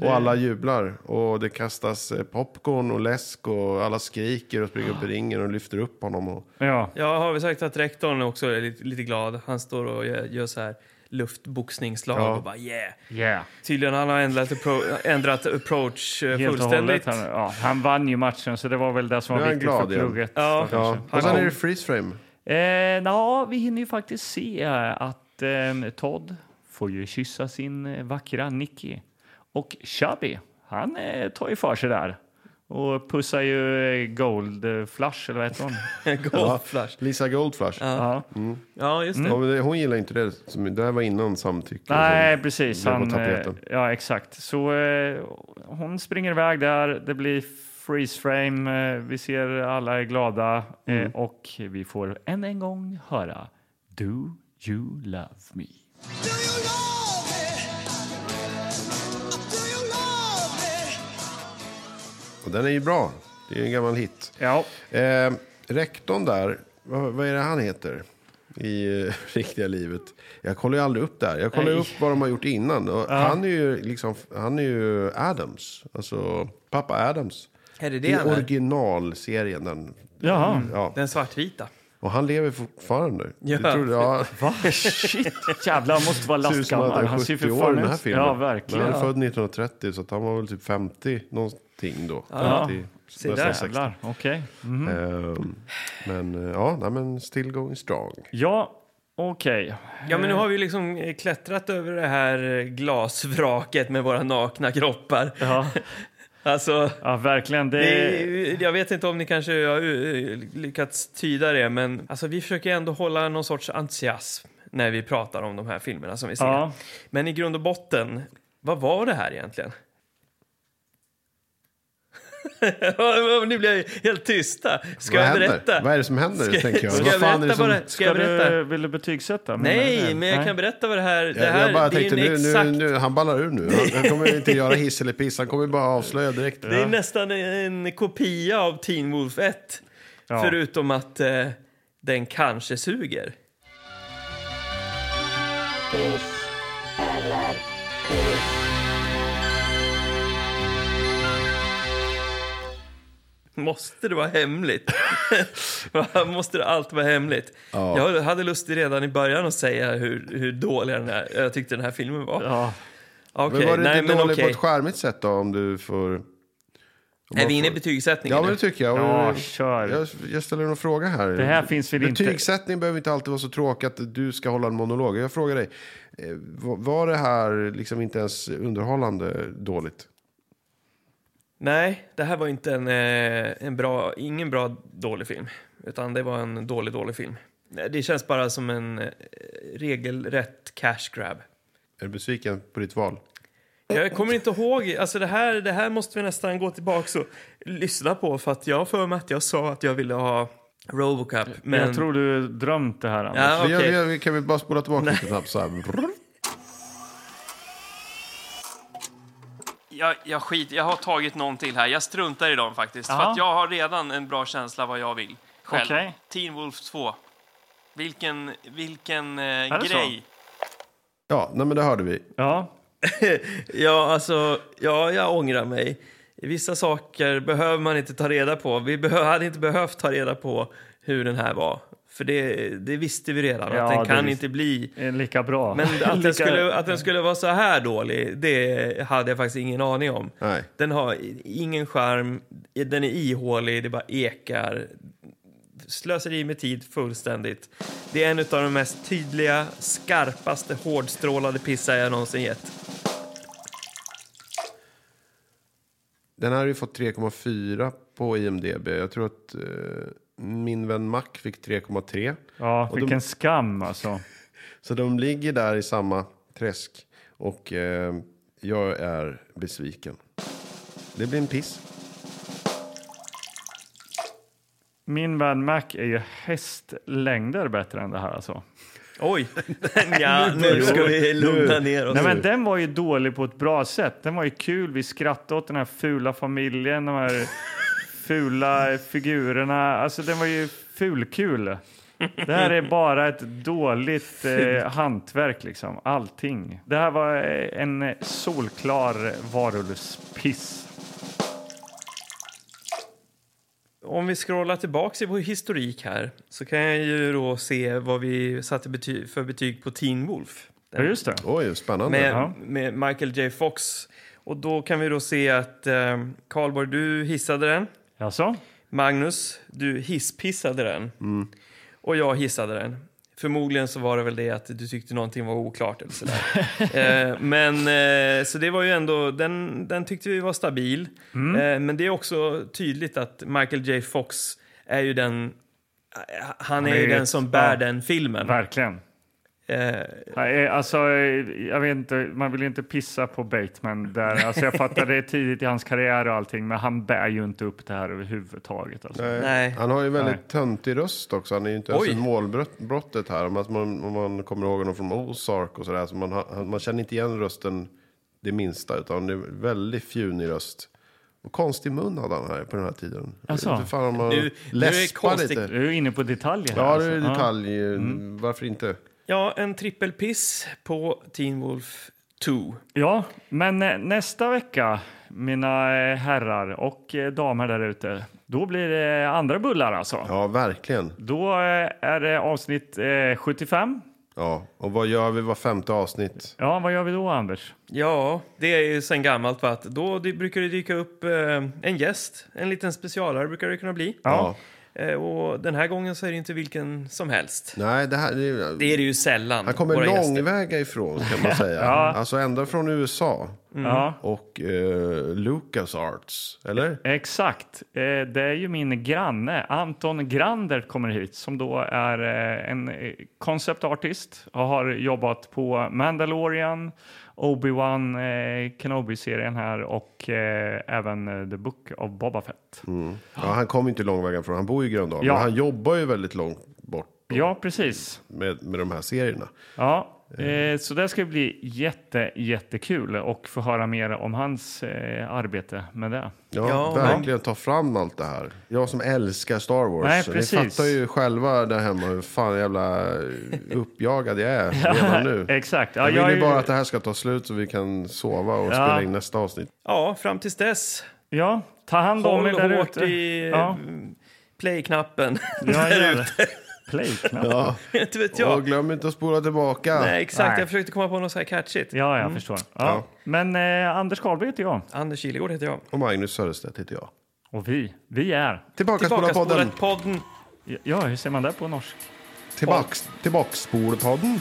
B: Och alla jublar. Och det kastas eh, popcorn och läsk och alla skriker och springer upp i ringen och lyfter upp honom. Och,
C: Ja.
A: Ja, har vi sagt att rektorn också är lite, lite glad. Han står och gör, gör så här luftboxningsslag
B: Ja.
A: och bara yeah.
C: Yeah.
A: Tydligen han har ändrat, appro- ändrat approach eh,
C: Helt och hållet.
A: fullständigt.
C: Han, ja, han vann ju matchen, så det var väl det som
B: Nu
C: var
B: är han
C: viktigt för
B: glad igen.
C: plugget.
A: Ja.
C: då,
B: ja.
C: kanske.
B: och sen är det freeze frame.
C: Eh, nå, vi hinner ju faktiskt se eh, att eh, Todd får ju kyssa sin eh, vackra Nicky. Och Chubby, han eh, tar ju för sig där. Och pussar ju eh, Gold eh, Flush, eller vad heter hon?
A: Golfflash.
B: Lisa Goldflash.
C: ja.
A: Ja, just det.
B: Ja, men det- hon gillar inte det. Som, det här var innan samtycke.
C: Nej,
B: Hon-
C: precis.
B: det var
C: Han, eh,
B: tapeten.
C: ja, exakt. Så eh, hon springer iväg där. Det blir freeze frame. Eh, vi ser alla är glada eh,
B: Mm.
C: och vi får än en gång höra Do you love me?
H: Do you love me? Do you love me?
B: Och den är ju bra. Det är ju en gammal hit.
C: Ja,
B: Eh, rektorn där, vad, vad är det han heter? I eh, riktiga livet. Jag kollar ju aldrig upp där. Jag kollar ju
C: Nej.
B: upp vad de har gjort innan. Och Han är ju liksom, han är ju Adams. Alltså pappa Adams.
A: Är det det
B: I
A: han är?
B: originalserien. Den,
C: jaha.
B: ja.
A: Den svartvita.
B: Och han lever fortfarande.
A: Ja.
B: Det tror jag.
C: Va? Shit! Jävlar, han måste vara
B: Det ser ut som att
C: lastgammal.
B: han
C: Han
B: är
C: ser ju
B: 70
C: för
B: år i
C: fan
B: den här
C: ut.
B: filmen.
C: Ja,
B: Men
C: verkligen.
B: han är född 1930 så att han var väl typ 50 någonting då.
C: Ja. Mm.
B: 50,
A: Se
B: nästan
A: där.
B: 60.
C: Jävlar, okej.
B: Ehm, men eh, ja, nej, men still going strong.
C: Ja, okej.
A: Ja, men nu har vi liksom eh, klättrat över det här eh, glasvraket med våra nakna kroppar.
C: Ja,
A: Alltså,
C: ja, verkligen. Det,
A: det, jag vet inte om ni kanske har eh, lyckats tyda det, men alltså, vi försöker ändå hålla någon sorts entusiasm när vi pratar om de här filmerna som vi ser.
C: Ja.
A: Men i grund och botten Vad var det här egentligen? nu blir jag helt tysta. Ska
B: Vad
A: jag
B: händer?
A: berätta?
B: Vad är det som händer,
A: Ska,
B: tänker jag?
A: ska
B: Vad
A: jag
B: fan
A: berätta
B: är det som-
A: vad det Ska jag
C: Ska
A: berätta?
C: du, vill du betygsätta? Menar du
A: Nej,
C: det?
A: men jag kan berätta vad det här... Det
B: Jag,
A: här
B: jag bara
A: det är
B: tänkte
A: en
B: nu,
A: exakt
B: nu, nu, han ballar ur nu. Han, han kommer inte göra hiss eller piss, han kommer bara avslöja direkt.
A: Det är nästan en kopia av Teen Wolf 1.
C: Ja.
A: Förutom att eh, den kanske suger. Måste det vara hemligt? Va, Måste det alltid vara hemligt? Jag hade lust redan i början att säga hur, hur dålig den här, jag tyckte den här filmen var.
C: Ja.
A: Okej,
B: men var det
A: nej,
B: inte
A: men
B: dåligt på
A: okej.
B: ett skärmigt sätt då, om du får... om
A: Är
B: man
A: vi inne i
B: får-
A: betygssättningen
B: Ja, men
A: nu?
B: det tycker jag.
C: Ja,
B: Och-
C: kör.
B: Jag, jag ställer en fråga här.
C: Det här finns väl inte-
B: Betygssättning behöver inte alltid vara så tråkig att du ska hålla en monolog. Jag frågar dig, eh, var- var det här liksom inte ens underhållande dåligt?
A: Nej, det här var inte en, eh, en bra, ingen bra dålig film. Utan det var en dålig, dålig film. Nej, Det känns bara som en eh, regelrätt cash grab.
B: Är du besviken på ditt val?
A: Jag kommer inte ihåg, alltså det här, det här måste vi nästan gå tillbaka och lyssna på för att jag har för mig att jag sa att jag ville ha Robocop. Men
C: Jag tror du drömt det här, Anders.
A: Ja,
B: Vi gör-
A: okej.
B: vi gör- vi kan vi bara spola tillbaka lite snabbt så här.
A: jag, jag, skit, jag har tagit någon till här, jag struntar i dem faktiskt. För
C: Jaha.
A: att jag har redan en bra känsla vad jag vill själv.
C: Okej.
A: Teen Wolf 2. Vilken, vilken eh,
C: det så?
A: grej.
B: Ja, nej men det hörde vi.
C: Ja.
A: Ja, alltså, ja, jag ångrar mig. Vissa saker behöver man inte ta reda på. Vi behö- hade inte behövt ta reda på hur den här var. För det, det visste vi redan,
C: Ja,
A: att den
C: det
A: kan
C: visste-
A: inte bli...
C: är Lika bra.
A: Men att
C: Lika-
A: den, skulle, att den skulle vara så här dålig, det hade jag faktiskt ingen aning om.
B: Nej.
A: Den har i- ingen charm, den är ihålig, det bara ekar. Slöseri med tid fullständigt. Det är en av de mest tydliga, skarpaste, hårdstrålade pissar jag någonsin gett.
B: Den här har ju fått 3,4 på IMDB. Jag tror att eh, min vän Mac fick 3,3.
C: Ja,
B: Och de-
C: vilken skam alltså.
B: Så de ligger där i samma träsk. Och eh, jag är besviken. Det blir en piss.
C: Min vän Mac är ju hästlängder bättre än det här alltså.
A: Oj! ja, nu ska vi lugna ner oss.
C: Nej, men den var ju dålig på ett bra sätt. Den var ju kul. Vi skrattade åt den här fula familjen, de här fula figurerna. Alltså den var ju fulkul. Det här är bara ett dåligt eh, hantverk liksom. Allting. Det här var eh, en solklar varulvspiss.
A: Om vi scrollar tillbaka i vår historik här så kan jag ju då se vad vi satte bety- för betyg på Teen Wolf.
C: Ja, just det.
B: Oj, spännande.
A: Med,
C: Ja.
A: med Michael J Fox. Och då kan vi då se att eh, Karlborg, du hissade den.
C: Alltså?
A: Magnus, du hisspissade den. Och jag hissade den. Förmodligen så var det väl det att du tyckte någonting var oklart eller sådär. eh, men eh, så det var ju ändå, den, den tyckte vi var stabil. Eh, men det är också tydligt att Michael J Fox är ju den, eh, han, är ju
C: är
A: den
C: ett-
A: som bär
C: ja.
A: den filmen.
C: Verkligen.
A: Eh,
C: Nej, Alltså, jag vet inte, man vill ju inte pissa på Bateman. Där. Alltså, jag fattar det är tidigt i hans karriär och allting, men han bär ju inte upp det här överhuvudtaget. Alltså.
B: Eh,
A: Nej.
B: Han har ju väldigt
C: Nej.
B: töntig röst också. Han är ju inte
A: Oj.
B: ens i målbrottet här. Om att man, om man kommer ihåg honom från Ozark och sådär. Så man, har- han- man känner inte igen rösten det minsta. Utan det är väldigt fjunig röst. Och konstig mun hade han här på den här tiden.
C: Alltså.
B: Jag vet inte fan om han
A: Nu- nu är
B: läspar
A: konstigt-
B: lite.
C: Du är inne på detaljer här.
B: Ja, det
C: alltså. Mm.
B: är detalj. Varför inte?
A: ja, en trippelpiss på Teen Wolf 2.
C: Ja, men eh, nästa vecka, mina eh, herrar och eh, damer där ute, då blir det andra bullar alltså.
B: Ja, verkligen.
C: Då eh, är det avsnitt eh, 75.
B: Ja, och vad gör vi var femte avsnitt?
C: Ja, vad gör vi då, Anders?
A: Ja, det är ju sen gammalt. Va? Att Då dy- brukar det dyka upp eh, en gäst, en liten specialare brukar det kunna bli.
B: Ja.
A: Eh, och den här gången så är det inte vilken som helst.
B: Nej, det här...
A: Det är det ju sällan.
B: han kommer
A: våra gäster.
B: långväga ifrån kan man säga.
C: Ja.
B: Alltså ända från USA
C: Ja.
B: och eh, Lucas Arts, eller?
C: Exakt. Eh, Det är ju min granne, Anton Grandert, kommer hit som då är eh, en eh, concept artist och har jobbat på Mandalorian Obi-Wan eh, Kenobi-serien här och eh, även eh, The Book of Boba Fett.
B: Ja, han kom ju inte långvägen från, han bor ju i Gröndal.
C: Ja.
B: Men han jobbar ju väldigt långt bort
C: Ja, precis.
B: med, med de här serierna.
C: Ja, eh, så det ska bli jätte, jättekul och få höra mer om hans eh, arbete med det.
B: Ja,
A: Ja,
B: verkligen ta fram allt det här. Jag som älskar Star Wars.
C: Nej,
B: ni
C: precis.
B: fattar ju själva där hemma hur fan jävla uppjagad jag är redan nu.
C: Exakt. Ja,
B: Jag
C: jag,
B: vill
C: är-
B: ju bara att det här ska ta slut så vi kan sova och spela in nästa avsnitt.
A: Ja, fram tills dess.
C: ja, ta hand om
A: Håll
C: er där
A: hårt
C: ute.
A: i
C: Ja.
A: mm, play-knappen.
C: Ja, jag gör det. Play-knappen. Ja,
A: Inte vet
B: Och
A: jag.
B: glöm inte att spola tillbaka.
A: Nej, exakt.
C: Nej.
A: Jag försökte komma på något så här catchigt.
C: jag förstår. Ja.
B: Ja.
C: Men eh, Anders Carlby heter jag
A: Anders Kilegård heter jag.
B: Och Magnus Söderstedt heter jag.
C: och vi, vi är...
B: Tillbaka, spola podden.
A: Tillbakaspolat podden.
C: Ja, hur ser man det på norsk?
B: Tillbaks, tillbaks spola podden.